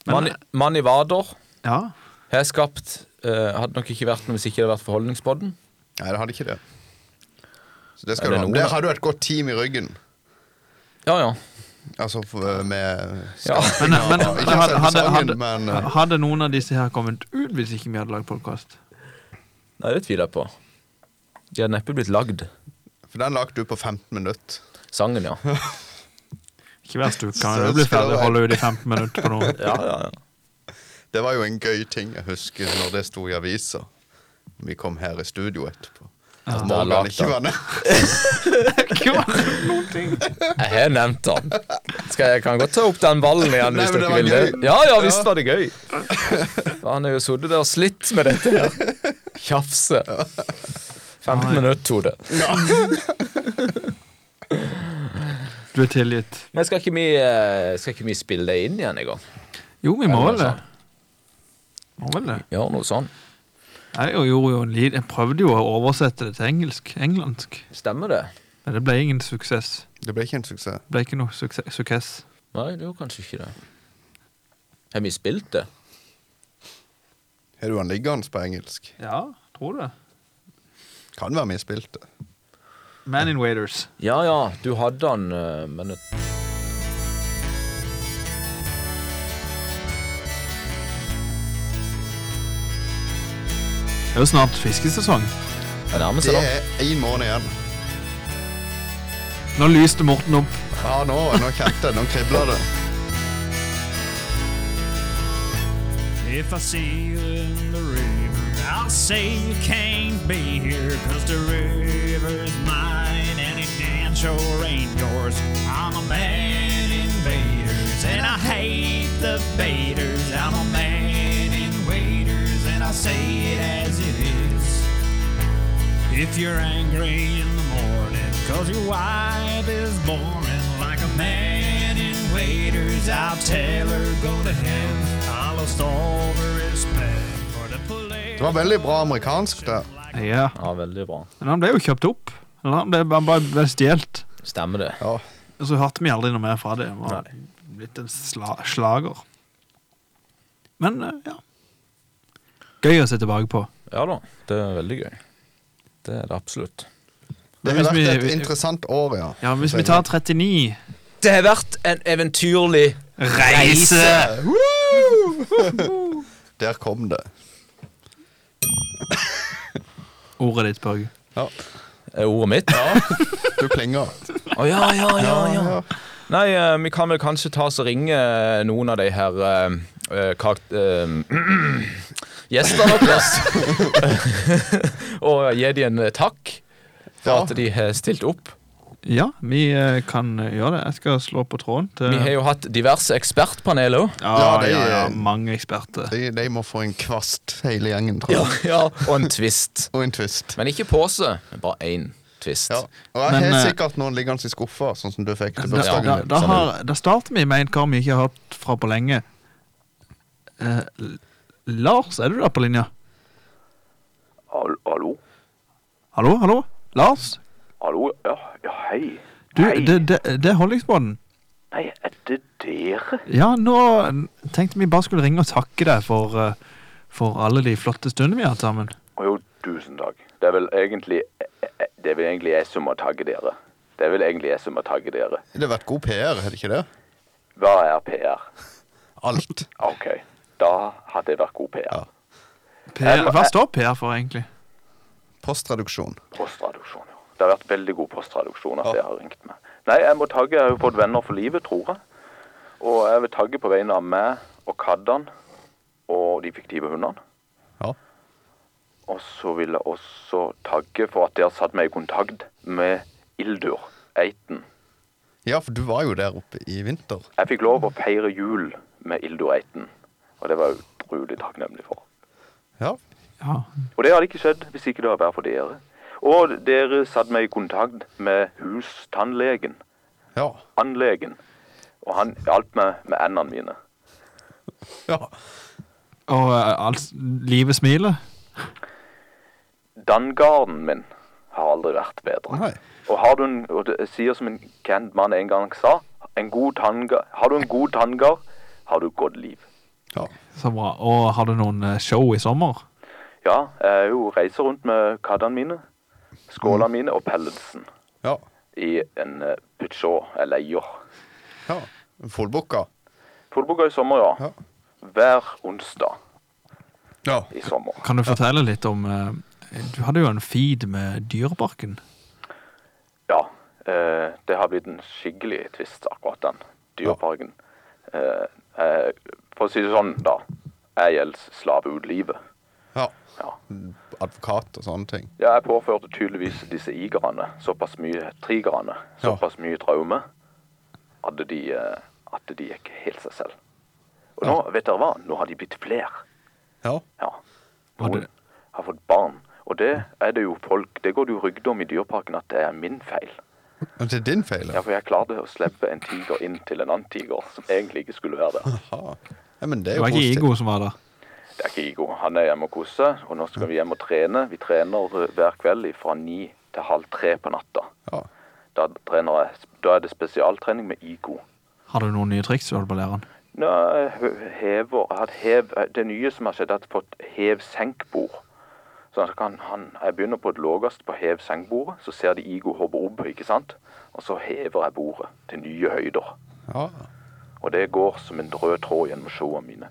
Mann, i- mann i vader ja. har skapt eh, Hadde nok ikke vært noe hvis ikke det hadde vært Forholdningspodden. Nei, det hadde ikke det. Så det Er skal det du ha. noe, Der da? har du et godt team i ryggen. Ja, ja. Altså for, med Men, eh, men, Ikke men hadde, selve hadde, sangen, hadde, men eh, hadde noen av disse her kommet ut hvis ikke vi hadde lagd podkast? Nei, det tviler jeg på. De hadde neppe blitt lagd. For den lagde du på 15 minutter. Sangen, ja. Ikke vær stup, kan du bli ferdig og holde ut i 15 minutter på noe? Det var jo en gøy ting jeg husker når det sto i avisa. Vi kom her i studio etterpå. Ja. At Da Morgan lagde ikke han. var med. Jeg har nevnt den. Skal jeg, jeg kan godt ta opp den ballen igjen Nei, hvis men dere det vil var det. gøy. Ja, ja, Ja. visst var det gøy. Han har jo sittet der og slitt med dette her. Tjafse. 15 minutter tok det. Du er tilgitt. Men skal ikke vi, eh, skal ikke vi spille det inn igjen en gang? Jo, vi må Eller vel det. Må vel det. Gjør noe sånn. Jeg, gjorde jo en lid, jeg prøvde jo å oversette det til engelsk. Englandsk. Stemmer det? Men det ble ingen suksess. Det ble ikke en suksess. Det ble ikke noe suksess. suksess. Nei, det gjorde kanskje ikke det. Har vi spilt det? Har du han liggende på engelsk? Ja, tror det. Kan være vi spilte. Man in Waiters. Ja ja, du hadde han, eh, men Det er jo snart fiskesesong. Det nærmer Det er én måned igjen. Nå lyste Morten opp. Ja, nå, nå kjente jeg. Nå kribler det. If I see you in the river, I'll say you can't be here, cause the river's mine and it damn sure ain't yours. I'm a man in waiters and I hate the baiters. I'm a man in waiters and I say it as it is. If you're angry in the morning, cause your wife is boring like a man in waiters, I'll tell her go to hell. I lost all the respect for the police. Det var veldig bra amerikansk, det. Ja. ja, veldig bra. Men han ble jo kjøpt opp. Eller Han ble, han bare ble stjålet. Stemmer det. Ja. Og så hørte vi aldri noe mer fra det. Det var blitt en sla slager. Men eh, ja. Gøy å se tilbake på. Ja da, det er veldig gøy. Det er det absolutt. Det Men har hvis vært vi- et interessant år, ja. Ja, Hvis vi tar 39 Det har vært en eventyrlig Reise! Woo! Der kom det. Ordet ditt, Børge. Ja. Er ordet mitt? Ja. Du klinger. Å ja, ja, ja, ja. Nei, eh, vi kan vel kanskje ta oss og ringe eh, noen av de her eh, eh, karakt... eh, gjestene våre. og gi dem en eh, takk for at de har stilt opp. Ja, vi eh, kan eh, gjøre det. Jeg skal slå på tråden til Vi har jo hatt diverse ekspertpaneler òg. Ja, ja, ja, mange eksperter. De, de må få en kvast, hele gjengen, tror jeg. Ja, og en twist. og en twist. Men ikke pose, men bare én twist. Ja. Og jeg Men, har eh, sikkert noen liggende i skuffa, sånn som du fikk Da, til da, da, bursdagen din. har, da starter vi med en kar vi ikke har hørt fra på lenge. Eh, L- Lars, er du der på linja? Hallo? Hallo, hallo? Lars? Hallo? Ja, ja hei. Du, det, det, det er Holdingsbåten. Nei, er det dere? Ja, nå tenkte vi bare skulle ringe og takke deg for, eh, for alle de flotte stundene vi har hatt sammen. Å Jo, tusen takk. Det er vel egentlig eh, Det er vel egentlig jeg som må takke dere. Det er vel egentlig jeg som må takke dere. Det har vært god PR, har det ikke det? Hva er PR? Alt. OK. Da hadde jeg vært god PR. Per, hva eh. står Per for, egentlig? Postreduksjon. Postreduksjon, ja. Det har vært veldig god postreduksjon at jeg har ringt meg. Nei, jeg må tagge. Jeg har jo fått venner for livet, tror jeg. Og jeg vil tagge på vegne av meg og Kaddan og de fiktive hundene. Ja. Og så vil jeg også tagge for at de har satt meg i kontakt med Ildur Eiten. Ja, for du var jo der oppe i vinter. Jeg fikk lov å feire jul med Ildur Eiten, og det var jeg utrolig takknemlig for. Ja. Og det hadde ikke skjedd hvis ikke det hadde vært for dere. Og dere satte meg i kontakt med hustannlegen. Ja. Anlegen. Og han hjalp meg med endene mine. Og eh, alt livet smiler. Dangarden min har aldri vært bedre. Og har du en, og det sier som en kjent mann en gang sa, en god tanngar, har du en god tanngard, har du et godt liv. Så bra. Og har du noen eh, show i sommer? Ja, eh, jeg er jo reiser rundt med kaddene mine, skålene mine og pelletsen. Ja. I en eh, Peugeot eller Jor. ja. Fullbooka. Fullbooka i sommer, ja. Hver onsdag i sommer. Kan du fortelle litt om eh, Du hadde jo en feed med Dyreparken. Ja, eh, det har blitt en skikkelig tvist, akkurat den dyreparken. Eh, eh, for å si det sånn, da. Jeg gjelder slave ut livet. Ja. Ja. Advokat og sånne ting. Ja, jeg påførte tydeligvis disse igerne såpass mye trigerne, såpass mye traume, at de, eh, at de gikk helt seg selv. Og nå, vet dere hva? Nå har de blitt flere. Ja. Noen har fått barn. Og det er det jo folk Det går det jo rykter om i Dyreparken at det er min feil. Og det er din feil. Ja, for jeg klarte å slippe en tiger inn til en annen tiger som egentlig ikke skulle være der. Ja, men det Det er jo var ikke positivt. Igo som var der. Det er ikke Igo. Han er hjemme og koser, og nå skal vi hjem og trene. Vi trener eh, hver kveld fra ni til halv tre på natta. Da, trener jeg, da er det spesialtrening med Igo. Har du noen nye triks du holder på å lære han? Nå eh, hø- hever, jeg har hatt hev, eh, Det nye som har skjedd, er at jeg har fått hev-senk-bord. Så han kan, han, jeg begynner på et lavest på hev-senk-bordet, så ser de Igo hoppe opp, ikke sant? Og så hever jeg bordet til nye høyder. Ja. Og det går som en rød tråd gjennom showene mine.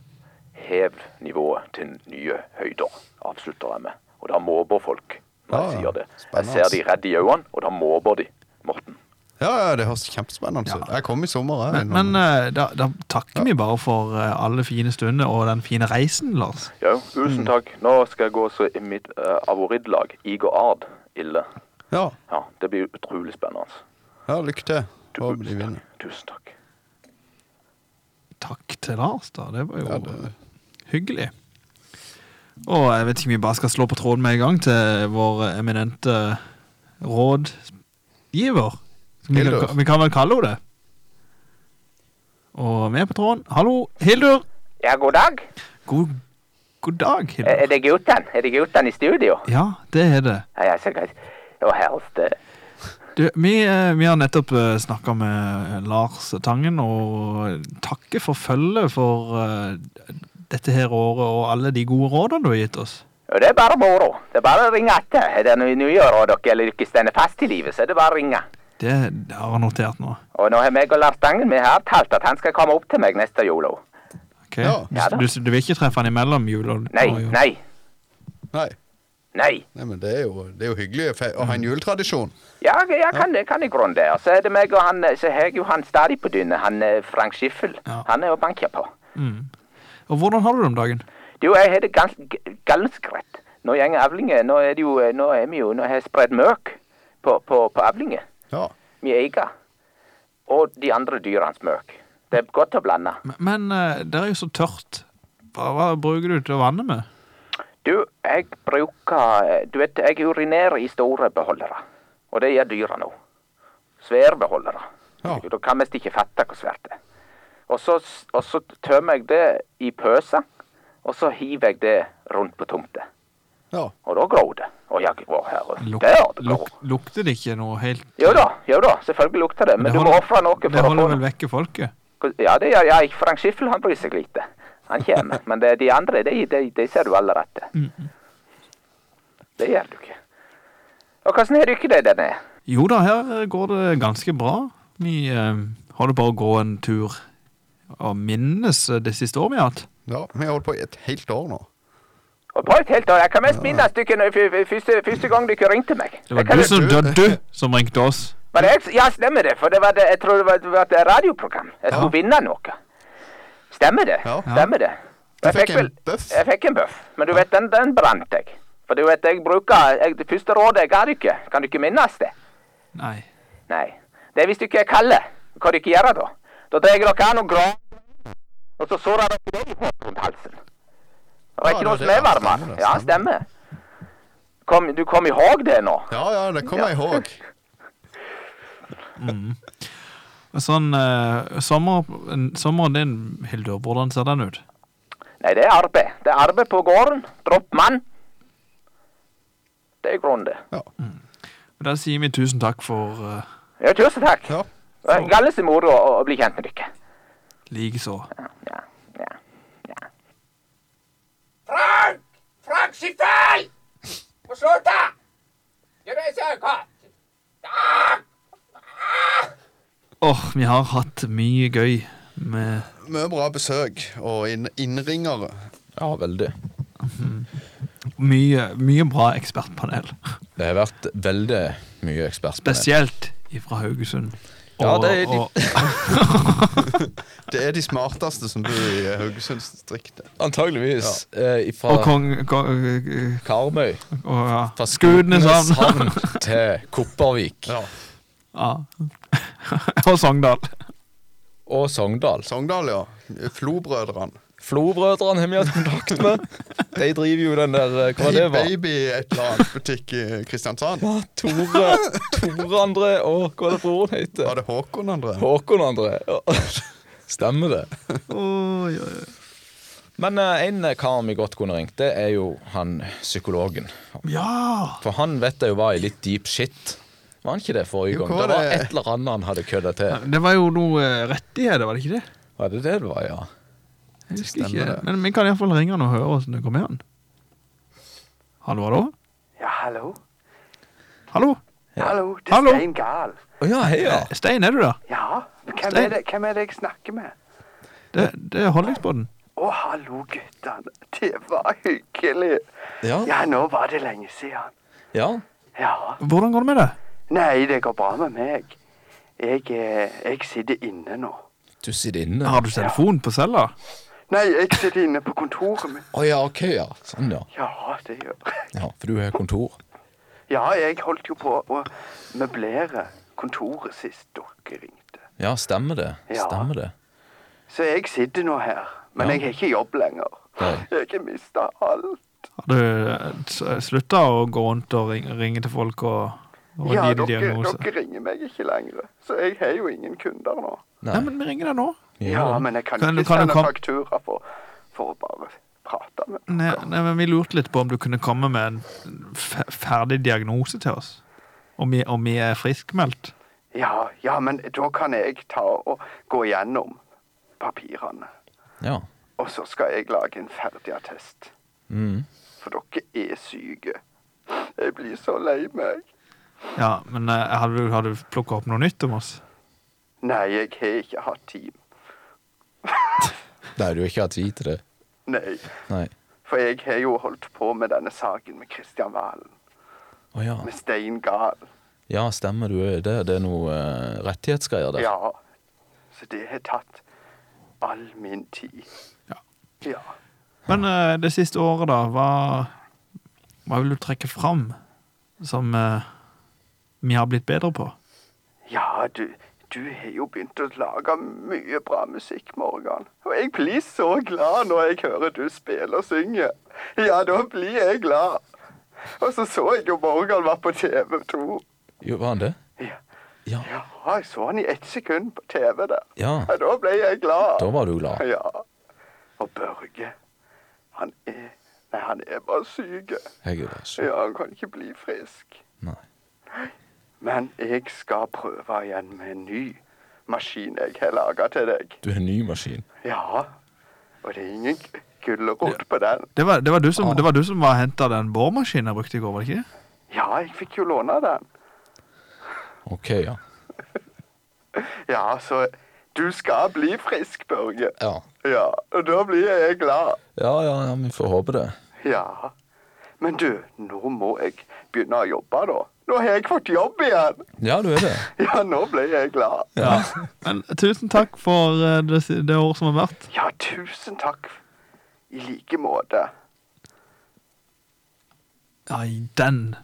Hev nivået til nye høyder, avslutter jeg med. Og da måper folk når jeg sier det. Jeg spennende. ser de redde i øynene, og da måper de. Ja, ja, det høres kjempespennende ut. Jeg kom i sommer, jeg. Men, men eh, da, da takker vi bare for eh, alle fine stunder og den fine reisen, Lars. Ja, tusen takk. Nå skal jeg gå så i mitt uh, avorittlag, Igo Ard, ille. øh, Ja. Ja, det blir utrolig spennende. ja, lykke til. Håper de vinner. Tusen takk. Takk til Lars, da. Det var jo hyggelig. Og jeg vet ikke om vi bare skal slå på tråden med en gang til vår eminente rådgiver. Som Vi Hildur. kan, vi kan vel kalle henne det. Og vi er på tråden. Hallo, Hildur! Ja, god dag. God, god dag, Hildur. Eh. Er det gutten? Er det gutten i studio? Ja, det er det. Nei, altså, greit. Å, herres eh, det. Du, vi, eh, vi har nettopp snakka med eh, Lars Tangen, og takke for følget for eh, dette her året og alle de gode rådene du har gitt oss. Og det er bare moro. Det er bare å ringe etter. Er det noe nyår og dere eller dere stender fast i livet, så er det bare å ringe. Det har jeg notert nå. Og nå har meg og Lars Stangen vi har avtalt at han skal komme opp til meg neste jolo. Ok? du, du, du vil ikke treffe han imellom jul og Nei, og jul? nei. Nei. Nei. men det er jo, det er jo hyggelig å fe- å Mm. ha en juletradisjon. Ja, jeg kan, jeg kan i grunnen det. Og så er det meg og han, eh, så har jeg jo han stadig på dynne, han eh, Frank Schiffel. Han er jo banker på. Mm. Og hvordan har du det om dagen? Du, jeg har det gans- g- ganske rett. Nå gjenger avlinger, nå er det jo, nå er vi jo, nå har jeg spredt møk på, på, på avlinger. Ja. Vi eier. Og de andre dyrenes møk. Det er godt å blande. Men, men eh, det er jo så tørt. Hva, hva bruker du til å vanne med? Du, jeg bruker, eh, du vet, jeg urinerer i store beholdere. Og det gjør dyra nå. Svære beholdere. Da kan mest ikke fatte hvor svært det er. Og så, og så tømmer jeg det i pøser, og så hiver jeg det rundt på tomta. Ja. Og da gror det. Og jeg, å herre, Luk, der luk, lukter det ikke noe helt Jo da, jo da, selvfølgelig lukter det, men Det du må holder- ofre noe Det for å få holder vel vekke folket? Ja, det gjør jeg. Frank Schiffel han bryr seg lite. Han kommer. Men det, de andre, de, de, de ser du aller etter. Det gjør du ikke. Og hvordan har du ikke det der nede? Jo da, her går det ganske bra. Vi eh, holder på å gå en tur og minnes eh, det siste året vi har hatt. Ja, vi har holdt på i et helt år nå. Og på et helt år, Jeg kan mest minnes dere når- f- f- første, første gang dere ringte meg. Det var Jeg kan- du som døde, som ringte oss. Var det jeg s- ja, stemmer det. For det var det, jeg tror det var, det var et radioprogram. Jeg skulle vinne noe. Stemmer det. Stemmer det. Du Jeg fikk en vel- Jeg fikk en bøff. Men du vet, den, den brant jeg. For du vet, jeg bruker jeg, Det første rådet jeg ga dere, kan dere minnes det? Nei. Nei. Det er hvis dere er kalde. Hva dere gjør da? Da drar dere an og graver, og så sårer dere deg rundt halsen. Det var Ja, ikke det- noe som det- er varmere. Ja, stemmer. Kom, du kom i håp det nå? Ja, ja, det kommer jeg ihåg. Mm. Sånn, eh, sommer, en- sommeren din, Hildur, hvordan ser den ut? Nei, det er arbeid. Det er arbeid på gården. Dropp mann. Det er grunnen, det. Mm. Da sier vi tusen takk for uh, Ja, tusen takk. Ja. Galles er moro å, å bli kjent med dere. likeså. Frank! Frank, skift deg! Må slutte! Gjør det jeg sier, hva? Åh, vi har hatt mye gøy med Mye bra besøk og inn innringere. Ja, veldig. mye, mye bra ekspertpanel. Det har vært veldig mye ekspert. Spesielt fra Haugesund. Ja, Og- det er de- og- Det er de smarteste som bor i Haugesundsdistriktet. Antageligvis eh, ifra Og kong... kong Karmøy. og, ja. Fra Skudeneshavn. Skudeneshavn til Kopervik. ja. og Sogndal. Og Sogndal. Sogndal, ja. Flobrødrene. Flobrødrene har vi hatt kontakt med. De driver jo den der eh, Hva det var? Baby et eller annet butikk i Kristiansand. Ja, Ah, Tore, Tore André og hva er det broren heter? Var det Håkon André? Håkon André. Ja. Stemmer det. Oi, oi, oi. Men eh, en kar vi godt kunne ringt, det er jo han psykologen. Ja! For han vet jeg jo var i litt deep shit. Var han ikke det forrige Jo, gang? hva Det var var det? et eller annet han hadde kødda til. Det var jo noe eh, rettigheter, var det ikke det? Var det det det var, ja? Jeg husker Stemmer ikke. det. Men vi kan iallfall ringe han og høre åssen det går med han. Hallo, hallo? Ja, hallo. Hallo? Hallo, det er Hallo? Stein Gahl. Å ja, hei, ja. Eh, Stein, er du der? Ja, hvem er, Stein. det, hvem er det jeg snakker med? Det, det er Holdingsbåten. Å, hallo, guttene. Det var hyggelig. Ja. nå var det lenge siden. Ja. Ja. Hvordan går det med deg? Nei, det går bra med meg. Jeg, eh, jeg sitter inne nå. Du sitter inne. Har du telefon på cella? Nei, jeg sitter inne på kontoret mitt. Å ja, ok, ja. Sånn, ja. Ja, det gjør jeg. ja. For du har kontor. Ja, jeg holdt jo på å møblere kontoret sist dere ringte. Ja, stemmer det. Ja. Stemmer det. Så jeg sitter nå her. Men Ja. jeg har ikke jobb lenger. Jeg har mista alt. Har du eh, s- slutta å gå rundt og ringe, ringe til folk og, og Ja, gi dem dere, diagnose? dere ringer meg ikke lenger, så jeg har jo ingen kunder nå. Nei, men vi ringer deg nå. Ja, men jeg kan, Kan- ikke kan du sende kom- faktura for, for å bare prate med Nei, nei, men Vi lurte litt på om du kunne komme med en fe- ferdig diagnose til oss. Om vi, om vi er friskmeldt. ja, ja, men da kan jeg ta og gå gjennom papirene. Ja. Og så skal jeg lage en ferdig attest. Mm. For dere er syke. Jeg blir så lei meg. Ja, men eh, har du, har du plukka opp noe nytt om oss? Nei, jeg har ikke hatt tid. Nei, du har ikke hatt tid til det. Nei. Nei. For jeg har jo holdt på med denne saken med Kristian Valen. Å ja. Med Stein Gahl. Ja, stemmer du er det. Det er noe eh, rettighetsgreier der. Ja. Så det har tatt all min tid. Ja. Men eh, det siste året, da, hva, hva vil du trekke fram som eh, vi har blitt bedre på? Ja, du, du har jo begynt å lage mye bra musikk, Morgan. Og jeg blir så glad når jeg hører du spiller og synger. Ja, da blir jeg glad. Og så så jeg jo Morgan var på TV 2. Jo, var han det? Ja. jeg så han i ett sekund på TV der. Ja. Ja, da ble jeg glad. Da var du glad. Ja. Og Børge, han er Nei, han er bare syk. Jeg er bare syk. Ja, han kan ikke bli frisk. Nei. Men jeg skal prøve igjen med en ny maskin jeg har laga til deg. Du har en ny maskin. Ja. Og det er ingen g- gulrot på den. Det var, det var, du, som, det var du som var henta den boremaskinen jeg brukte i går, var det ikke det? Ja, jeg fikk jo låne den. Ok, ja. Ja, så Du skal bli frisk, Børge. Ja. Ja, Og da blir jeg glad. Ja, ja, ja, vi får håpe det. Ja. Men du, nå må jeg begynne å jobbe, da. Nå har jeg fått jobb igjen! Ja, du er det. Ja, nå ble jeg glad. Ja. Men tusen takk for eh, det, si- det året som har vært. Ja, tusen takk. I like måte. Nei, den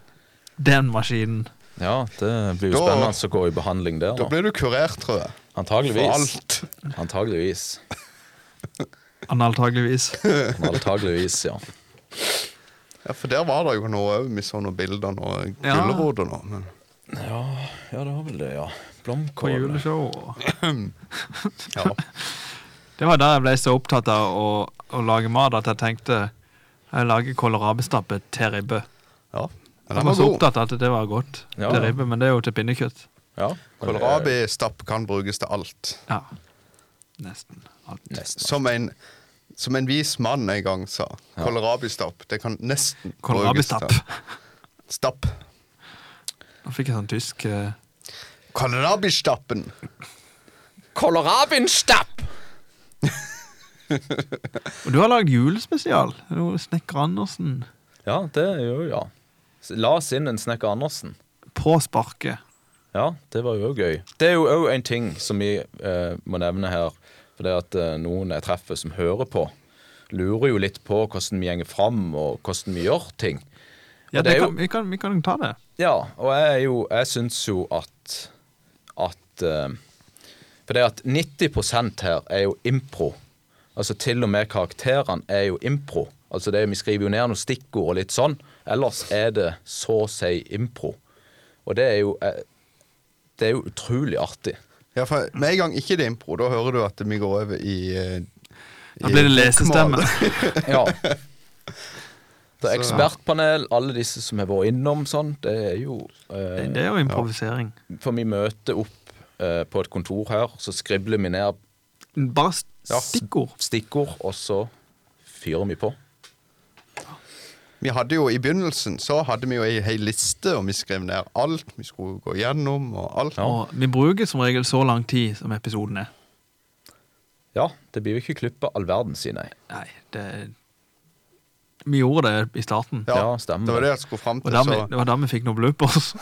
Den maskinen. Ja, det blir jo Da- spennende å gå i behandling der. Da blir du kurert, tror jeg. Antageligvis. Antageligvis. Analtageligvis. Antageligvis, ja. Ja, For der var det jo noe òg. Vi så noen bilder og Ja. gulrot og noe. Men Ja, ja, det var vel det, ja. På Blomkål. juleshow. Det var da jeg ble så opptatt av å, å lage mat at jeg tenkte jeg lager kålrabistappe til ribbe. Ja, den jeg var var så god. opptatt av at det var godt Ja. til ribbe, men det er jo til pinnekjøtt. Kålrabistapp kan brukes til alt. Ja. Nesten alt. Som en, som en vis mann en gang sa. Kålrabistapp. Det kan nesten Kålrabistapp. brukes til- Stapp. Nå fikk jeg sånn tysk eh, Kålrabistappen. Kålrabinstapp! Og du har lagd julespesial. Det er jo Snekker Andersen Ja, det gjør ja. La oss inn en Snekker Andersen. på sparket. Ja, det var jo gøy. Det er jo òg en ting som vi eh, må nevne her. For det at eh, noen jeg treffer som hører på, lurer jo litt på hvordan vi gjenger fram, og hvordan vi gjør ting. Ja, Og det det er jo- kan, vi, kan, vi kan ta det. Ja, og jeg, er jo- jeg syns jo at at eh, For det at 90 her er jo impro. Altså til og med karakterene er jo impro. Altså det Vi skriver jo ned noen stikkord og litt sånn. Ellers er det så å si impro. Og det er jo eh, Det er jo utrolig artig. Ja, for Med en gang ikke det er impro, da hører du at vi går over i eh, Da i blir det lesestemme. bokmål. Ja. Det er Så- ekspertpanel, alle disse som har vært innom sånn. Det er jo eh, Det- det er jo improvisering. Ja. For vi møter opp eh, på et kontor her, så skribler vi ned Bare s- stikkord. stikkord, og så fyrer vi på. Vi hadde jo I begynnelsen så hadde vi jo ei hel liste, og vi skrev ned alt vi skulle gå gjennom. og alt. Og vi bruker som regel så lang tid som episoden er. Ja, det blir jo ikke klippet all verden, sier nei. Nei, det Vi gjorde det i starten. Ja, stemmer. Det var det jeg skulle fram Og til. da vi, så- det var da vi fikk noen bloopers.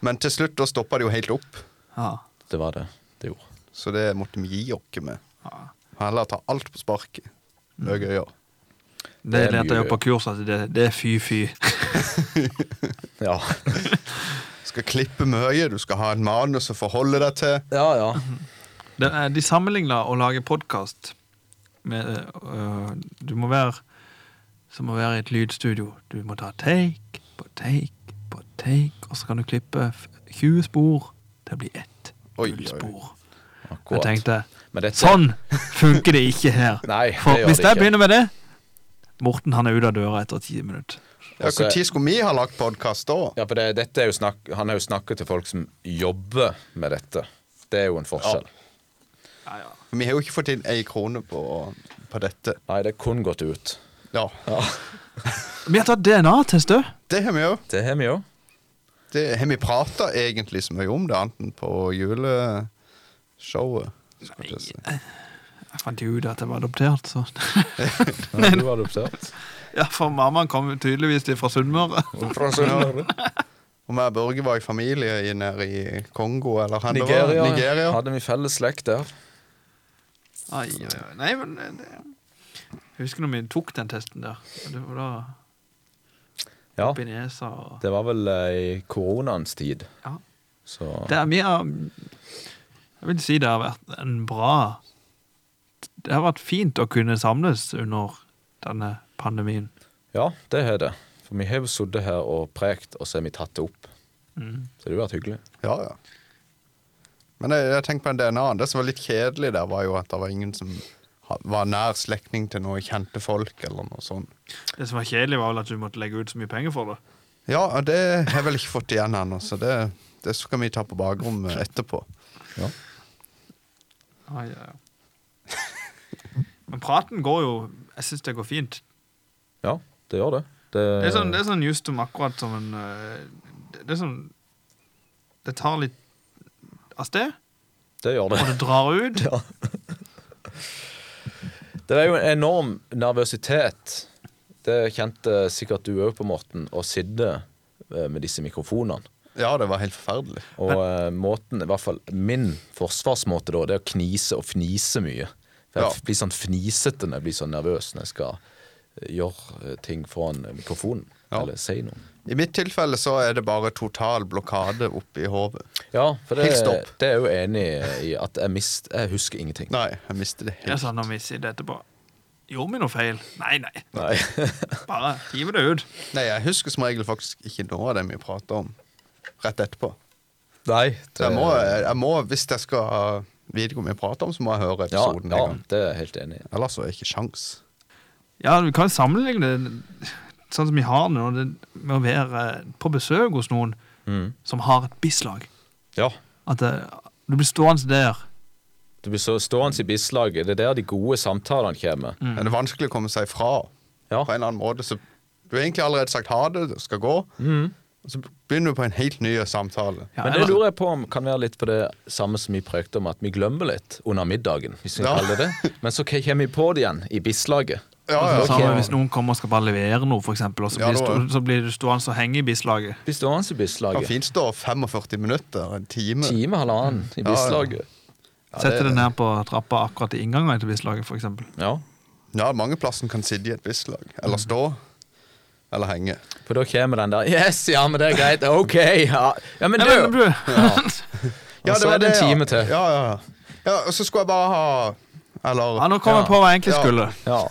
Men til slutt da stoppa det jo helt opp. Ja. Det var det det gjorde. Så det måtte vi gi oss med. Heller ta alt på sparket. Det er gøyere. Det Det er lærte jeg jo mye- på kurs at det, det er fy-fy. Ja. Du skal klippe mye, du skal ha et manus å forholde deg til. Ja, ja. Det er- De sammenligna å lage podkast med øh, Du må være som å være i et lydstudio. Du må ta take på take på take, og så kan du klippe f- 20 spor til å bli ett gullspor. Jeg Akkurat. tenkte Men dette- sånn funker det ikke her. Nei, det For gjør hvis det jeg ikke. begynner med det Morten han er ute av døra etter ti minutter. Ja, Altså- Når skulle vi ha lagt podkast da? Ja, for det, dette er jo snakk, Han har jo snakket til folk som jobber med dette. Det er jo en forskjell. Vi har jo ikke fått inn ei krone på, på dette. Nei, det er kun gått ut. Ja. Vi har tatt DNA-test òg. Det har vi jo. Det har vi òg. Det har vi prata egentlig så mye om det, anten på juleshowet. skulle jeg si. Jeg fant jo ut at jeg var adoptert, så Ja, du var adoptert. Ja, for mammaen kom tydeligvis til fra Sunnmøre. Fra Sunnmøre. Og meg og Børge var i familie i- nede i Kongo, eller han det Nigeria, var. Nigeria. Hadde vi felles slekt der? Ai, ai, ai. Nei, men eh, det... Jeg husker når vi tok den testen der. og Det var da Ja. oppi nesa og Det var vel eh, i koronaens tid. Ja. Så Det er mye av- Jeg vil si det har vært en bra Det har vært fint å kunne samles under denne pandemien. Ja, det har det. For vi har jo sittet her og prekt, og så har vi tatt det opp. Mm. Så det har jo vært hyggelig. Ja, ja. Men jeg, jeg tenker på en DNA-en. Det som var litt kjedelig der, var jo at det var ingen som ha- var nær slektning til noen kjente folk, eller noe sånt. Det som var kjedelig, var vel at du måtte legge ut så mye penger for det. Ja, og det har jeg vel ikke fått igjen ennå, så det, det skal vi ta på bakrommet etterpå. Ai, ai, ai. Men praten går jo Jeg syns det går fint. Ja, det gjør det. Det, Det er sånn, det er sånn justum akkurat som en eh, Det det er sånn Det tar litt av sted, det gjør det. og det drar ut. Det var jo en enorm nervøsitet. Det kjente sikkert du òg på, Morten, å sitte eh, med disse mikrofonene. Ja, det var helt forferdelig. Og eh, måten, i hvert fall min forsvarsmåte da, det er å knise og fnise mye. For jeg Ja. blir sånn fnisete når jeg blir så nervøs når jeg skal eh, gjøre eh, ting foran eh, mikrofonen. Eller si noe. I mitt tilfelle så er det bare total blokade oppi hodet. Ja, for det, Helt stopp. det er jeg jo enig i at jeg, mist, jeg husker ingenting. Nei, jeg mister det Jeg sa når vi sier det etterpå Gjorde vi noe feil? Nei, nei. Nei. Bare hiv det ut. Nei, jeg husker som regel faktisk ikke noe av det vi prater om rett etterpå. Nei, Så jeg må, jeg må, hvis jeg skal vite hva vi prater om, så må jeg høre Ja, episoden ja, en gang. det er jeg helt enig i. Ellers så er det ikke sjans. Ja, vi kan sammenligne det sånn som vi har det nå, det med å være eh, på besøk hos noen Mm. som har et bislag. Ja. At eh, du blir stående der. Du blir så stående i bislaget. Det er der de gode samtalene kommer. Mm. Men det er vanskelig å komme seg fra på en eller annen måte. Så du har egentlig allerede sagt ha det, du skal gå. Og så begynner du på en helt ny samtale. Men det lurer jeg på om kan være litt på det samme som vi prøkte om, at vi glemmer litt under middagen. Hvis vi Ja. kaller det det. Men så kommer vi på det igjen i bislaget. Altså, Da samme kommer- hvis noen kommer og skal bare levere noe, for eksempel, og så Ja, blir, da- stå- så blir du stående og henge i bislaget. Blir stående i Det bislaget. kan fint stå 45 minutter, en time. Time, halvannen i Ja, ja. bislaget. Ja, Sette deg det- ned på trappa akkurat i inngangen til bislaget, for eksempel. Ja. Ja, mange plasser kan sitte i et bislag. Eller Mm. stå. Eller henge. For da kommer den der Yes, ja, men det er greit. Ok, ja. Ja, men Ja, du! men du- Ja. Og så er det en time til. Ja, ja, ja. ja og så skulle jeg bare ha Eller Ja, nå kom jeg på hva jeg egentlig skulle. Ja.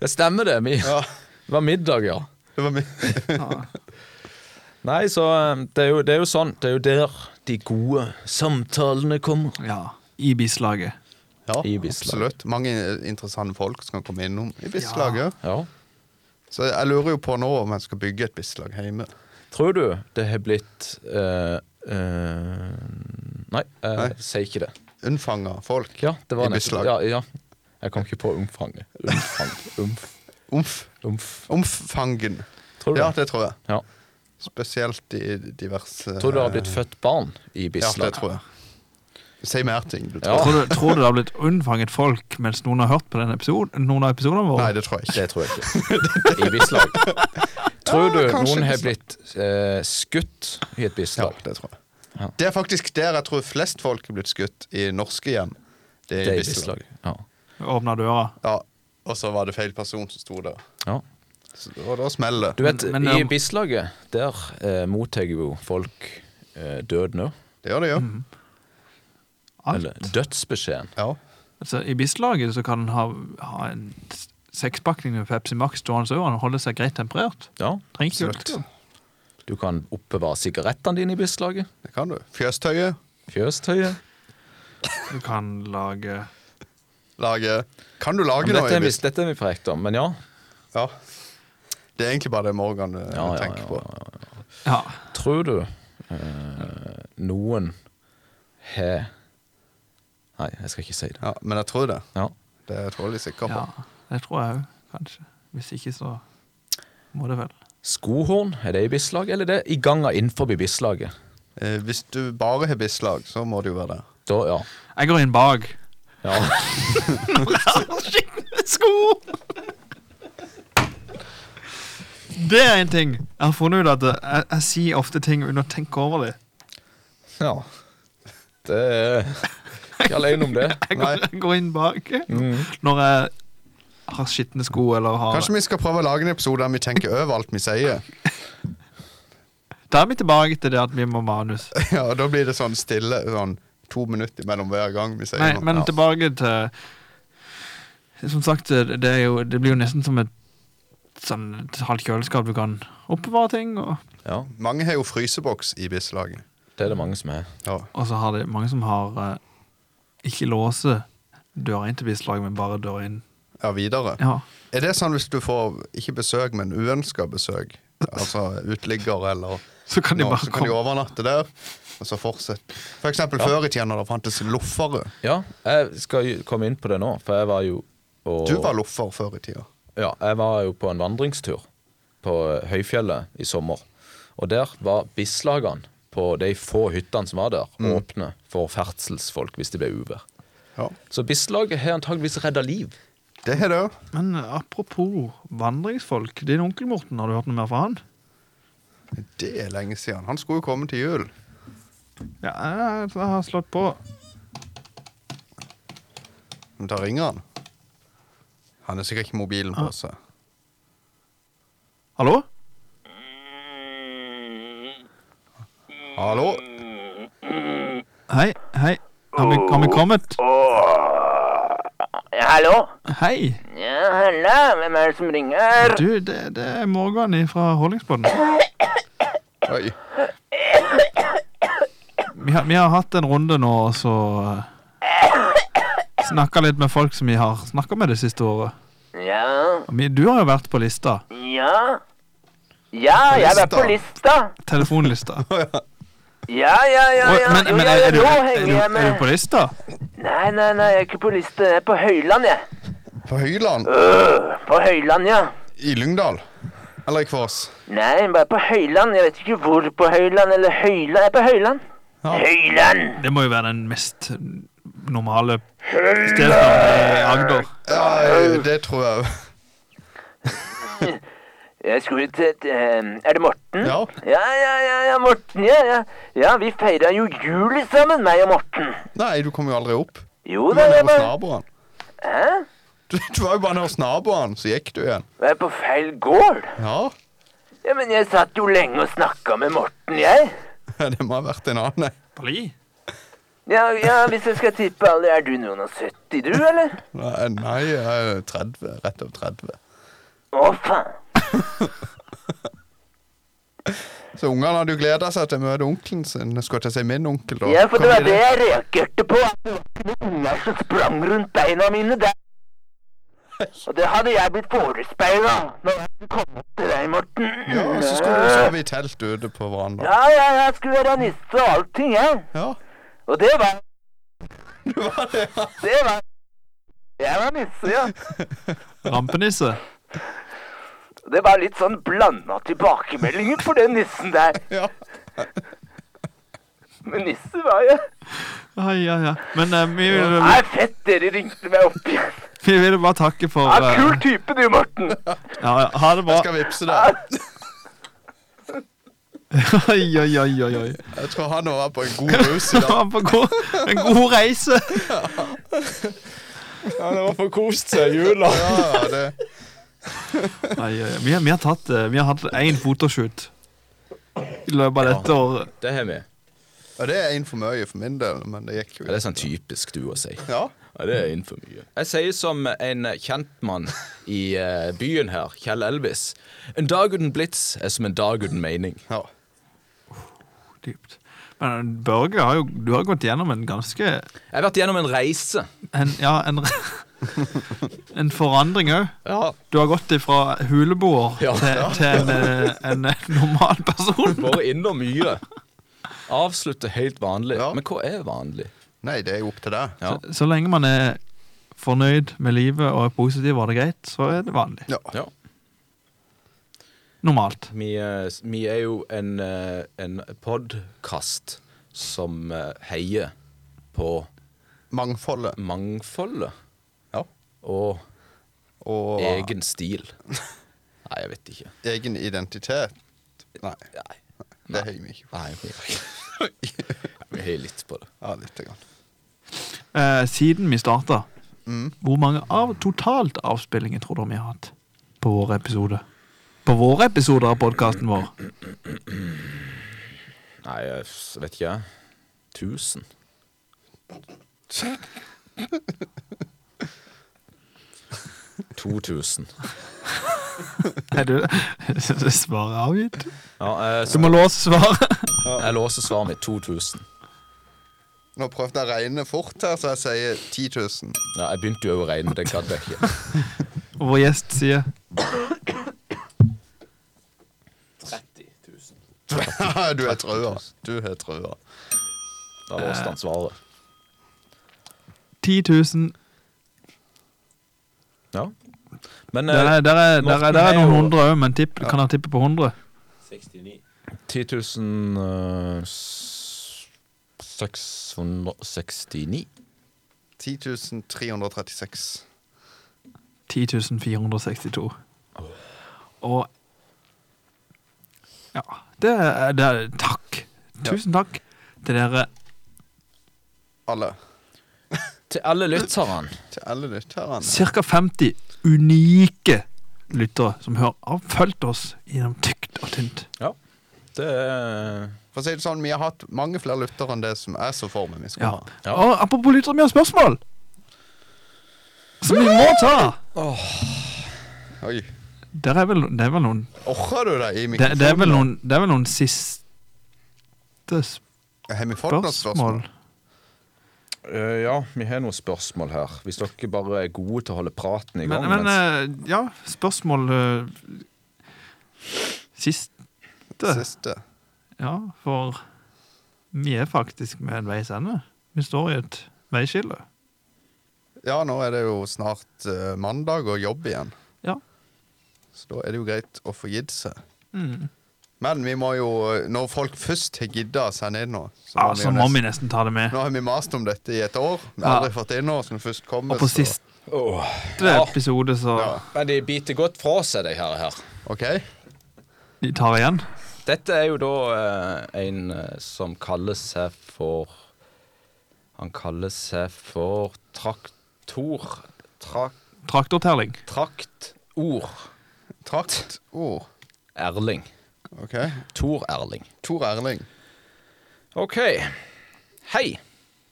Det stemmer, det. Vi, Ja. Det var middag, ja. Det var mye. Nei, så eh, det er, jo, det er jo sånn. Det er jo der de gode samtalene kommer. Ja. I bislaget. Ja, I bislaget. absolutt. Mange interessante folk som kan komme innom i bislaget. Ja. Så jeg lurer jo på nå om jeg skal bygge et bislag hjemme. Tror du det har blitt eh, eh, Nei, jeg Nei. sier ikke det. Unnfanga folk Ja, det var i nettopp- bislag. Ja, ja. Jeg kom ikke på omfanget. Omfang. Umf. Omf. Umf. Omfangen. Tror du ja, det? det tror jeg. Ja. Spesielt i diverse Tror du det har blitt født barn i bislag? Ja, det tror jeg. Si mer ting. Du Tror, du, tror du det har blitt unnfanget folk mens noen har hørt på den episoden, noen av episodene våre? Nei, det tror jeg ikke. Det tror jeg ikke. I bislag. Tror du Ja, kanskje noen har bislag. blitt eh, skutt i et bislag? Ja, det tror jeg. Det er faktisk der jeg tror flest folk er blitt skutt i norske hjem. Det er i Bislag. Ja. Åpna døra. Ja, og så var det feil person som sto der. Ja. Så, og da smeller Du vet, Men- men I om- Bislaget der eh, mottar jo folk eh, døden òg. Det gjør det, ja. Mhm. Eller dødsbeskjeden. Ja. Altså, I bislaget så kan en ha, ha en s- sekspakning med Pepsi Max stående over og holde seg greit temperert. Trenger ikke absolutt. Du kan oppbevare sigarettene dine i Bislaget. Det kan du. Fjøstøyet. Fjøstøyet. Du kan lage Lage Kan du lage Ja, men noe dette i er vi- Bislag? Dette er vi prekte om, men ja. Ja. Det er egentlig bare det Morgan eh, tenker på. Ja. Tror du eh, noen har Nei, jeg skal ikke si det. Ja, men jeg tror det. Ja. Det er jeg trolig sikker på. Ja, det tror jeg òg, kanskje. Hvis ikke, så må det vel. Skohorn, er det i Bislaget, eller er det i ganga innenfor Bislaget? Eh, hvis du bare har Bislag, så må det jo være det. Da, ja. Jeg går inn bak. Ja. Når jeg har skikkelig sko! Det er en ting. Jeg har funnet ut at jeg, jeg sier ofte ting uten å tenke over det. Ja. Det er ikke alene om det. Jeg går, jeg går inn bak når jeg har skitne sko eller har Mm. Kanskje vi skal prøve å lage en episode der vi tenker over alt vi sier. Da er vi tilbake til det at vi må manus. Ja, og Da blir det sånn stille sånn to minutter mellom hver gang vi sier Nei, noe. men Ja. tilbake til Som sagt, det, er jo, det blir jo nesten som et sånn et halvt kjøleskap du kan oppbevare ting, og, Mange har jo fryseboks i Bislaget. Det er det mange som har. Ja. og så har det mange som har eh, ikke låse døra inn til bislag, men bare døra inn. ja, videre. Ja. Er det sånn hvis du får ikke besøk, men uønska besøk? Altså uteligger eller Så kan de noe, bare så kan de komme. overnatte der, og så fortsette. For eksempel Ja. før i tida når det fantes loffere. Ja, jeg skal jo komme inn på det nå, for jeg var jo og, Du var loffer før i tida. Ja, jeg var jo på en vandringstur på eh, Høyfjellet i sommer. Og der var Bislagene på de få hyttene som var der, Mm. åpne for ferdselsfolk hvis det ble uvær. Ja. Så Bislaget har antageligvis redda liv. Det har det òg. eh, Men apropos vandringsfolk. Din onkel Morten, har du hørt noe mer fra han? Det er lenge siden. Han skulle jo komme til jul. Ja, jeg har slått på. Men da ringer han. Han er sikkert ikke mobilen på seg. Hallo? Hallo? Hei, hei. Har vi, har vi kommet? Ja, hallo? Hei. Ja, hallo. Hvem er det som ringer? Du, det, det er Morgan fra Holdingsbåten. Oi. Vi har, vi har hatt en runde nå, og så snakka litt med folk som vi har snakka med det siste året. Ja. Og vi, du har jo vært på lista. Ja. Ja, jeg var på lista. Telefonlista. Ja, ja, ja. Oi, ja. men, Jo, men ja, er, ja, er, du, er, nå henger du, jeg er du med. på lista? Nei, nei, nei, jeg er ikke på lista. Jeg er på Høyland, jeg. På Høyland? På Høyland, ja. I Lyngdal? Eller i Kvås? Nei, bare på Høyland. Jeg vet ikke hvor på Høyland eller Høyland. Jeg er på Høyland. Høyland! Det må jo være den mest normale stedet i Agder. Ja, det tror jeg òg. Jeg skulle til et, eh, Er det Morten? Ja. Ja, ja, ja, ja Morten. Ja, ja. ja, vi feira jo jul sammen, meg og Morten. Nei, du kom jo aldri opp. Jo du da, var nede jeg hos var- naboen. Hæ? Du, du var jo bare nede hos naboen, så gikk du igjen. Var jeg på feil gård? Ja, Ja, men jeg satt jo lenge og snakka med Morten, jeg. det må ha vært en annen. Nei, Ja, ja, hvis jeg skal tippe alder, er du noen og 70, du, eller? nei jeg er 30. Rett over 30. Å, faen. Så ungene hadde jo gleda seg til å møte onkelen sin. Jeg skulle til å si min onkel, da. Ja, for det Kom var i det jeg reagerte på. At det var ikke noen unger som sprang rundt beina mine der. Og det hadde jeg blitt forespeila når jeg skulle komme opp til deg, Morten. Ja, og så skulle du sove i telt ute på verandaen. Ja, ja, jeg skulle være nisse og allting, jeg. Ja. Og det var Det var Jeg var nisse, ja. Rampenisse. Det var litt sånn blanda tilbakemeldinger for den nissen der. Ja. Men nisse var jeg. Ai, ai, ai. Men eh, vi, vil, Nei, fett, dere ringte meg opp igjen. vi vil bare takke for Ja, eh, kul type du, Morten. ja, ja, Ha det bra. Jeg skal vippse deg. Oi, oi, oi, oi, oi. Jeg tror han var på en god rus i dag. Ha på god, en god reise. Han var for kost seg i jula. Ja, det. Ai, ai, ai. Vi, har, vi, har tatt, eh, vi har hatt én fotoshoot i løpet av dette året. Det har vi. Ja, det er en for mye for min del, men det gikk jo Ja, det er sånn typisk du å si. Ja. det er innenfor mye. Jeg sier som en kjentmann i eh, byen her, Kjell Elvis. En dag uten blits er som en dag uten mening. Ja. Men eh, Børge, har jo, du har gått gjennom en ganske Jeg har vært gjennom en reise. en, Ja, en, en forandring òg. Ja. Du har gått ifra huleboer Ja. til, Ja. til en, eh, en normal person. Bare innom mye. Avslutte helt vanlig. Men hva er vanlig? Nei, det er jo opp til deg. Ja. Så lenge man er fornøyd med livet og er positiv og har det greit, så er det vanlig. Ja. Normalt. Vi, eh, vi er jo en, eh, en podkast som eh, heier på Mangfoldet. Mangfoldet. Og, egen stil. Nei, jeg vet ikke. Egen identitet? Nei. Det heier vi ikke på. Nei, vi gjør ikke det. Vi heier litt på det. Ja, lite grann. Eh, siden vi starta, Mm. hvor mange av, totalt avspillinger tror dere vi har hatt på våre episoder? På våre episoder av podkasten vår? Nei, jeg s- vet ikke. jeg. 1000. Tusen. Er du er Svaret er avgitt? Ja, eh, jeg- Du må låse svaret. Jeg låser svaret mitt 2000. Nå prøvde jeg å regne fort her, så jeg sier 10 000. Ja, jeg begynte jo å regne, det gadd jeg ikke. Og vår gjest sier 30 000. du er trua. Du er trua. Da låste han svaret. 10 000. Ja. Men eh, Der er, der er, der er, der er noen hundre òg, men tipp, Ja. kan jeg tippe på 100? 69. eh, 669. 10.336. 10.462. Og Ja, Det er, det er Takk. Tusen takk til dere. Alle. Til alle lytterne. Til alle lytterne. Ca. 50 unike lyttere som hører, har fulgt oss gjennom tykt og tynt. Ja. Det er For å si det sånn, vi har hatt mange flere lyttere enn det som jeg så for meg vi skulle Ja. ha. Og apropos lyttere, vi har spørsmål! Som vi må ta! Oi. Der er vel, det er vel noen Orker du det i det, mikrofonen? det, er vel noen det er vel noen siste Har vi fått noen spørsmål? spørsmål? Eh, ja, vi har noen spørsmål her. Hvis dere bare er gode til å holde praten i gang. Men, men mens- eh, ja, spørsmål eh, Siste. Siste. Ja, for vi er faktisk ved en veis ende. Vi står i et veiskille. Ja, nå er det jo snart eh, mandag og jobb igjen. Ja. Så da er det jo greit å få gitt seg. Mm. Men vi må jo, når folk først har gidda å sende inn noe Ja, så altså må vi jo nesten ta det med. Nå har vi mast om dette i et år. Vi har Ja. aldri fått inn noe som først kommer. Og på så- siste Ja. episode så Men de biter godt fra seg, de her. her. Ok. de tar igjen. Dette er jo da eh, en eh, som kaller seg for Han kaller seg for traktor... Trak... Traktorterling. Traktord. Traktord. Erling. Ok. Tor Erling. Tor Erling. Ok. Hei.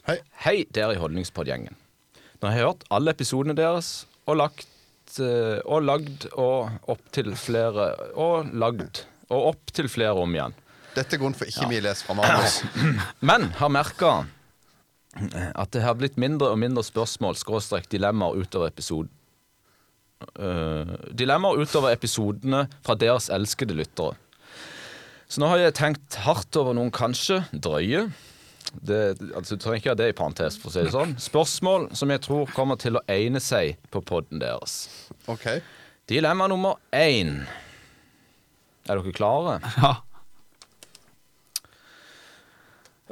Hei. Hei, dere i Holdningspodgjengen. Nå har jeg hørt alle episodene deres og lagt eh, og lagd og opp til flere Og lagd og opp til flere om igjen. Dette er grunnen for ikke vi leser fra manus. Men har merka at det har blitt mindre og mindre spørsmål skråstrek dilemmaer utover episoden. dilemmaer utover episodene fra deres elskede lyttere. Så nå har jeg tenkt hardt over noen kanskje drøye det, altså, Du trenger ikke ha det i parentes, for å si det sånn. Spørsmål som jeg tror kommer til å egne seg på podden deres. Ok. Dilemma nummer én. Er dere klare? Ja.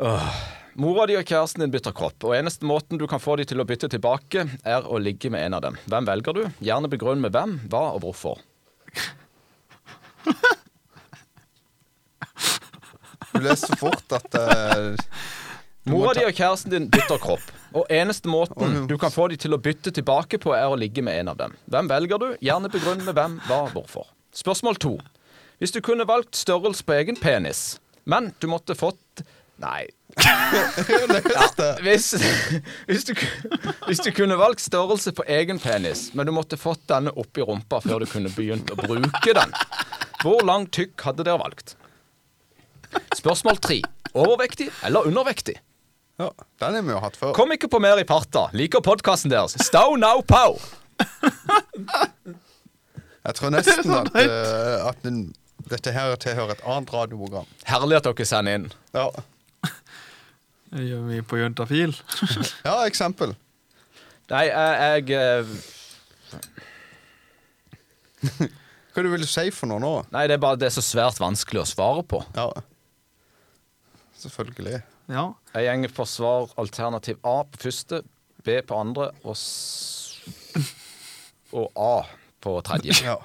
Åh. Mora di og kjæresten din bytter kropp, og eneste måten du kan få de til å bytte tilbake, er å ligge med en av dem. Hvem velger du? Gjerne begrunn med hvem, hva og hvorfor. Du leser så fort at eh, du må Mora ta- di og kjæresten din bytter kropp, og eneste måten du kan få de til å bytte tilbake på, er å ligge med en av dem. Hvem velger du? Gjerne begrunn med hvem, hva, hvorfor. Spørsmål to. Hvis du kunne valgt størrelse på egen penis, men du måtte fått Nei. Ja, hvis, hvis, du, ku- hvis du kunne valgt størrelse på egen penis, men du måtte fått denne oppi rumpa før du kunne begynt å bruke den, hvor lang tykk hadde dere valgt? Spørsmål tre. Overvektig eller undervektig? Ja, den har vi jo hatt før. Kom ikke på mer i parta. Liker podkasten deres. Stow now pow. Jeg tror nesten at, eh, at den, dette her tilhører et annet radioprogram. Herlig at dere sender inn. Ja. Det gjør vi på Juntafil. ja, eksempel. Nei, jeg, jeg eh, Hva er det du vil si for noe nå? Nei, det er bare det er så svært vanskelig å svare på. Ja. Selvfølgelig. Ja. Jeg gjenger for svar alternativ A på første, B på andre og, s og A på tredje. Ja.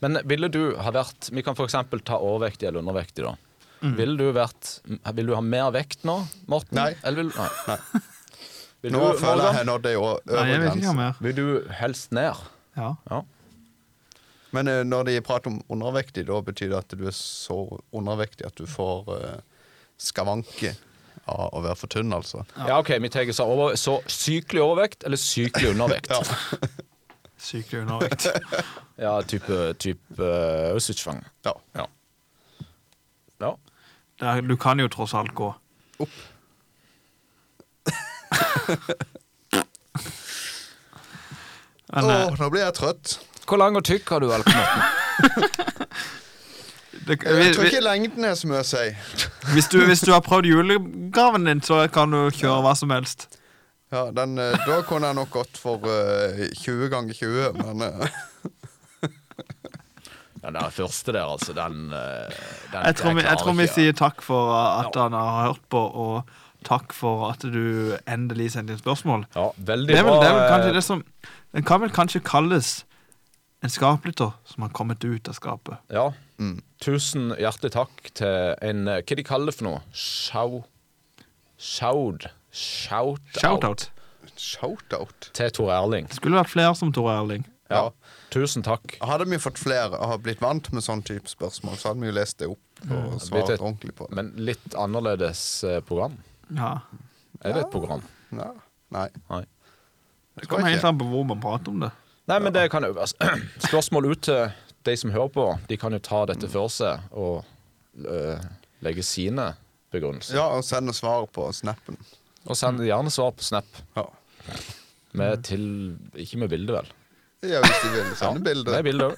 Men ville du ha vært Vi kan f.eks. ta overvektig eller undervektig, da. Mm. Ville du vært Vil du ha mer vekt nå, Morten? Nei. Eller vil, nei. Vil Nå du, føler jeg Morgan? jeg har nådd ei å- øvre Nei, jeg vet ikke grense. hva mer. Vil du helst ned? Ja. Ja. Men eh, når de prater om undervektig, da betyr det at du er så undervektig at du får eh, skavanker av å være for tynn, altså. Ja, ok, vi tar så, over, så sykelig overvekt eller sykelig undervekt. ja. Sykelig undervekt. type, type eh, Auschwitz-fang. Ja. Ja. ja. Der, du kan jo tross alt gå. Åh, Men eh, nå blir jeg trøtt. Hvor lang og tykk har du valgt, det, Jeg vi- tror ikke lengden er så mye å si. vi- hvis, du, hvis du har prøvd julegaven din, så kan du kjøre hva som helst. Ja, den, eh, da kunne jeg nok gått for eh, 20 ganger 20, men eh, Den der første der, altså, den, eh, den Jeg tror vi, jeg klarer tror vi ikke. sier takk for at han har hørt på, og takk for at du endelig sendte inn spørsmål. Ja, veldig det er vel, bra, Det, er vel eh, kanskje det, som, det kan vel kanskje kalles en skaplytter som har kommet ut av skapet. Ja. Mm. Tusen hjertelig takk til en eh, Hva de kaller det for noe? Show... Shout... Shout-out. Shoutout. Til Tor Erling. Skulle vært flere som Tor Erling. Ja. Tusen takk. Hadde vi fått flere og blitt vant med sånn type spørsmål, så hadde vi jo lest det opp og Det blir svart Mm. et- ordentlig på det. Men litt annerledes eh, program. Ja. Er det et program? Ja. Nei. Det kommer helt an på hvor man prater om det. Nei, men det kan jo altså, Spørsmål ut til de som hører på. De kan jo ta dette for seg og eh, legge sine begrunnelser. Ja, og send oss svar på snappen. Og send gjerne svar på Snap. Ja. Med til Ikke med bilde, vel? Ja, hvis de vil sende Ja, bilder. det er bilder.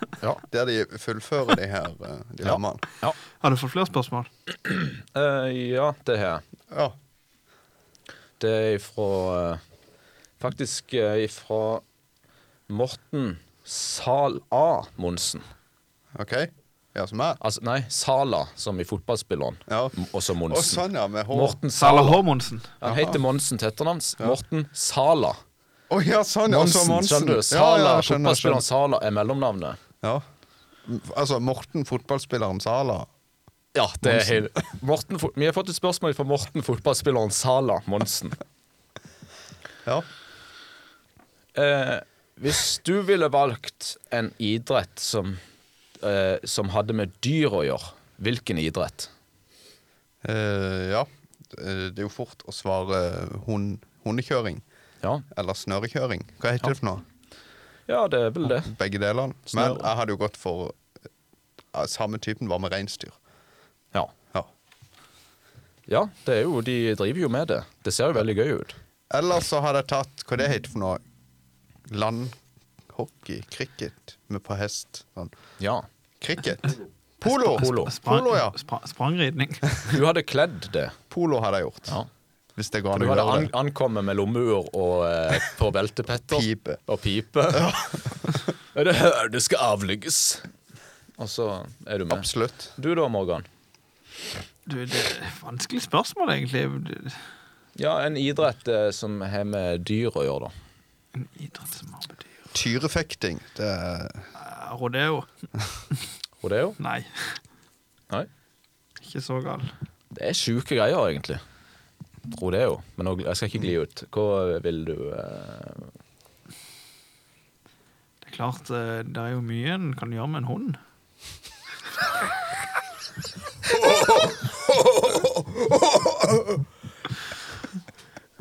Der de fullfører de her eh, dilemmaene. Ja. Har du fått flere spørsmål? Eh, ja, det har jeg. Ja. Det er fra Faktisk eh, fra Morten Sal A. Monsen. OK. Ja, som er? Altså, nei, Sala, som i fotballspilleren. Og så Monsen. Å, sånn, ja, med H. Morten Sala Sala. H. Monsen. Han Jaha. heter Monsen til etternavns. Morten Sala. Å ja, sånn, ja. så Monsen. skjønner du. Ja, Sala, ja, skjønner, skjønner. Fotballspilleren Sala er mellomnavnet. Ja. M- Altså Morten, fotballspilleren Sala. Ja, det er Monsen. hele Morten, Fo- Vi har fått et spørsmål fra Morten, fotballspilleren Sala Monsen. Ja. Eh, hvis du ville valgt en idrett som, eh, som hadde med dyr å gjøre, hvilken idrett? Eh, ja. Eh, Det er jo fort å svare hund, hundekjøring. Eller snørekjøring. Hva heter det for noe? Ja, det er vel det. Begge delene. Men Snøre. jeg hadde jo gått for eh, samme typen var med reinsdyr. Ja. Ja. Ja, det er jo, de driver jo med det. Det ser jo veldig gøy ut. Eller så hadde jeg tatt hva det heter for noe landhockey, cricket, med på hest. Sånn. Ja. Cricket. Polo! Polo. Polo, ja. Sprangridning. Du hadde kledd det. Polo hadde jeg gjort. Hvis det går an Du å hadde gjøre an det. ankommet med lommeur og eh, på beltepetter. Pipe. Og pipe. er det her det skal avlegges? Og så er du med. Absolutt. Du da, Morgan? Du, det er et vanskelig spørsmål, egentlig. Du- Ja, en idrett eh, som har med dyr å gjøre, da. En idrett som har betyr Tyrefekting. Det er Ja, Rodeo? Rodeo? Nei. Nei. Ikke så gal. Det er sjuke greier, egentlig. Rodeo. Men nå, jeg skal ikke gli ut. Hva vil du eh, Det er klart, eh, det er jo mye en kan gjøre med en hund.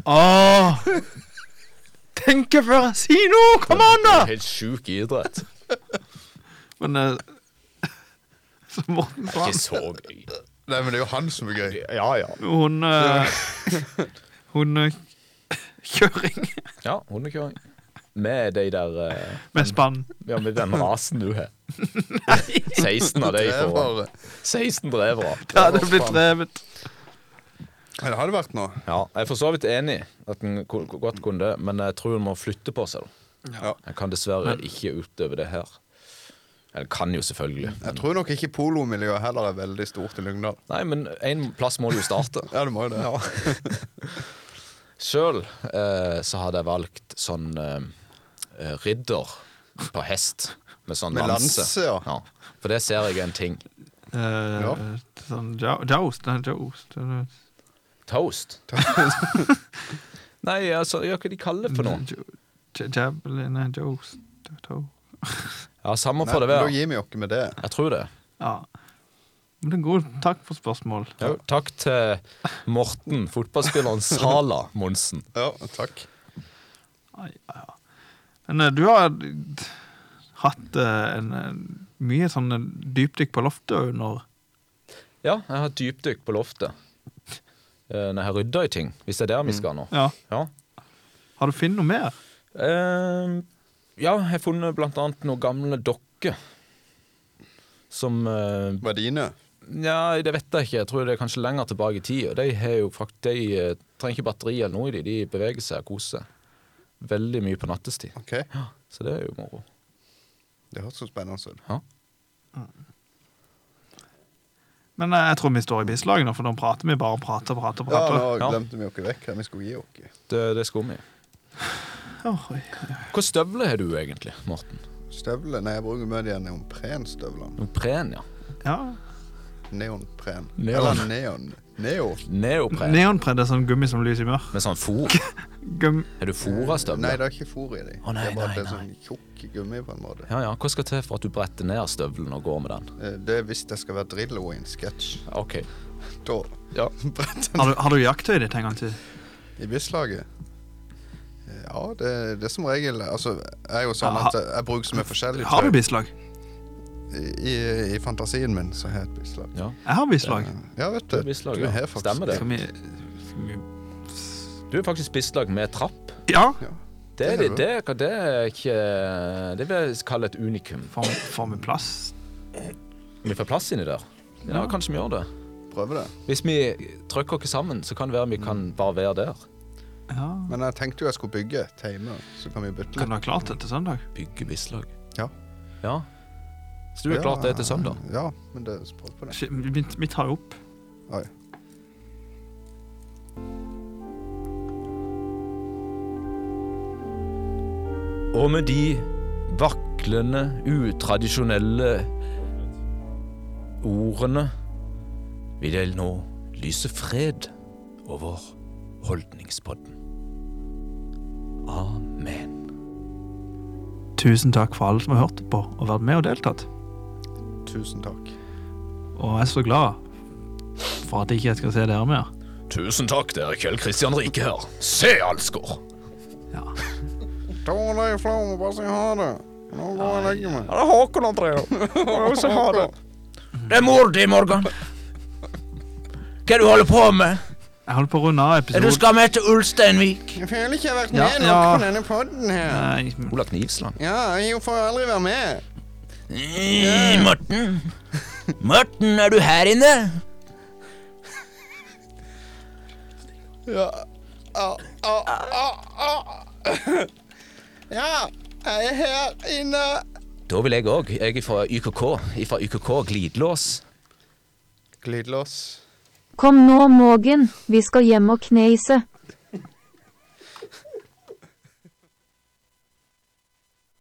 Åh! Tenke før jeg sier noe! Kom an, da! Helt sjuk idrett. Men eh, så Morten Det sa er han ikke så gøy. Nei, men det er jo han som er gøy. Ja, ja. Hun eh, Hun eh, Kjøring. Ja, hundekjøring. Med de der eh, Med spann. Ja, med den rasen du har. 16 av de Drevere. får 16 drevere. Det hadde blitt drevet. Ja, det hadde vært noe. Ja, jeg er for så vidt enig at en ko- ko- godt kunne det, men jeg tror en må flytte på seg. Ja. En kan dessverre ikke utøve det her. Eller kan jo selvfølgelig. Jeg tror nok ikke polomiljøet heller er veldig stort i Lyngdal. Nei, men en plass må du jo starte. ja, det må jo det. Sjøl eh, så hadde jeg valgt sånn eh, ridder på hest med sånn Med lanse. lanse, ja. For det ser jeg er en ting. Eh, Sånn jo- Joust. Nei, joust. Eh, det er- Toast? Nei, altså, ja, hva de kaller det for Mm. noe? Ja- Javelin nei, joust. to- Ja, samme Nei, får det men være. Da gir vi oss med det. Jeg tror det. Ja. Men det er god takk for spørsmål. Jo, takk til Morten, fotballspilleren Sala Monsen. Ja, takk. Men eh, du har hatt eh, en, en, mye sånne dypdykk på loftet under Ja, jeg har dypdykk på loftet. Eh, Når jeg har rydda i ting, hvis det er der vi skal nå. Ja. Mm. Ja. Har du funnet noe mer? Eh, ja, jeg har funnet blant annet noen gamle dokker. Som eh, Var dine? Nei, det vet jeg ikke. Jeg tror det er kanskje lenger tilbake i tid. Og de, har jo fakt de eh, trenger ikke batteri eller noe i de. De beveger seg og koser seg. Veldig mye på nattestid. Ja, så det er jo moro. Det hørtes så spennende ut. Ja. Men eh, jeg tror vi står i bislaget nå, for nå prater vi bare og prater og prater. og Ja, prater. nå glemte vi oss vekk. Vi skulle gi oss. Det, det er skummi. Oi. Hvilke støvler har du egentlig, Morten? Støvler? Nei, jeg bruker mye de her neonprenstøvlene. Neonpren, ja. Neonpren. Neon. Eller neon. Neo. Neopren. Neonpren det er sånn gummi som lyser i mørk. Med sånn fôr. Gum Er du fôrastøvler? Nei, det er ikke fôr i dem. Å, nei, det er bare nei, det er sånn tjukk gummi, på en måte. Ja, ja. Hva skal til for at du bretter ned støvelen og går med den? Eh, Det er hvis det skal være Drillo i en sketsj. Ok. Da bretter jeg Har du, har du jakttøy ditt en gang til? I Bislaget? Eh, Ja, det, det er som regel Altså, jeg er jo sånn at jeg bruker så mye forskjellig Har du tøy. bislag? I, i fantasien min så har jeg et bislag. Jeg har bislag. Ja, vet Du du. har bislag, du ja. har faktisk Stemmer det. Skal vi- Du er faktisk bislag med trapp. Ja. Det er, Det er det, du. det, er- det er ikke eh, Det vil jeg kalle et unikum. Får vi plass? Vi får plass inni der. Ja, Ja. kanskje vi gjør det. Prøver det. Hvis vi trykker oss sammen, så kan det være vi kan bare være der. Men jeg tenkte jo jeg skulle bygge et hjemme, så kan vi bytte litt. Kan du ha klart det til søndag? Bygge bislag. Ja. Ja. Så du har klart det til søndag? Ja, men det prøv på det. Shit, Vi, vi tar jo opp. Oi. Og med de vaklende, utradisjonelle ordene vil jeg nå lyse fred over holdningspodden. Amen. Tusen takk for alle som har hørt på og vært med og deltatt. Tusen takk. Og jeg er så glad for at jeg ikke skal se dere mer. Tusen takk, det er Kjell Kristian Rike her. Se, Alsgaard! Da var det flau, må bare si ha det. Nå går jeg og legger meg. Ja, det er Håkon, Andrea. Må også ha det. Det er mor di, Morgan. Hva er du holder på med? Jeg holder på å runde av Er du episoden. skal med til Ulsteinvik? Jeg føler ikke jeg har vært Ja, med nok ja. på denne podden her. Ola Knivsland. Ja, jeg får aldri være med. Mm, Morten. Morten, er du her inne? Ja. Au, au, au, au. Ja, jeg er her inne. Da vil jeg òg. Jeg er fra YKK. Fra YKK Glidelås. Glidelås. Kom nå, Mågen, vi skal hjem og kneise.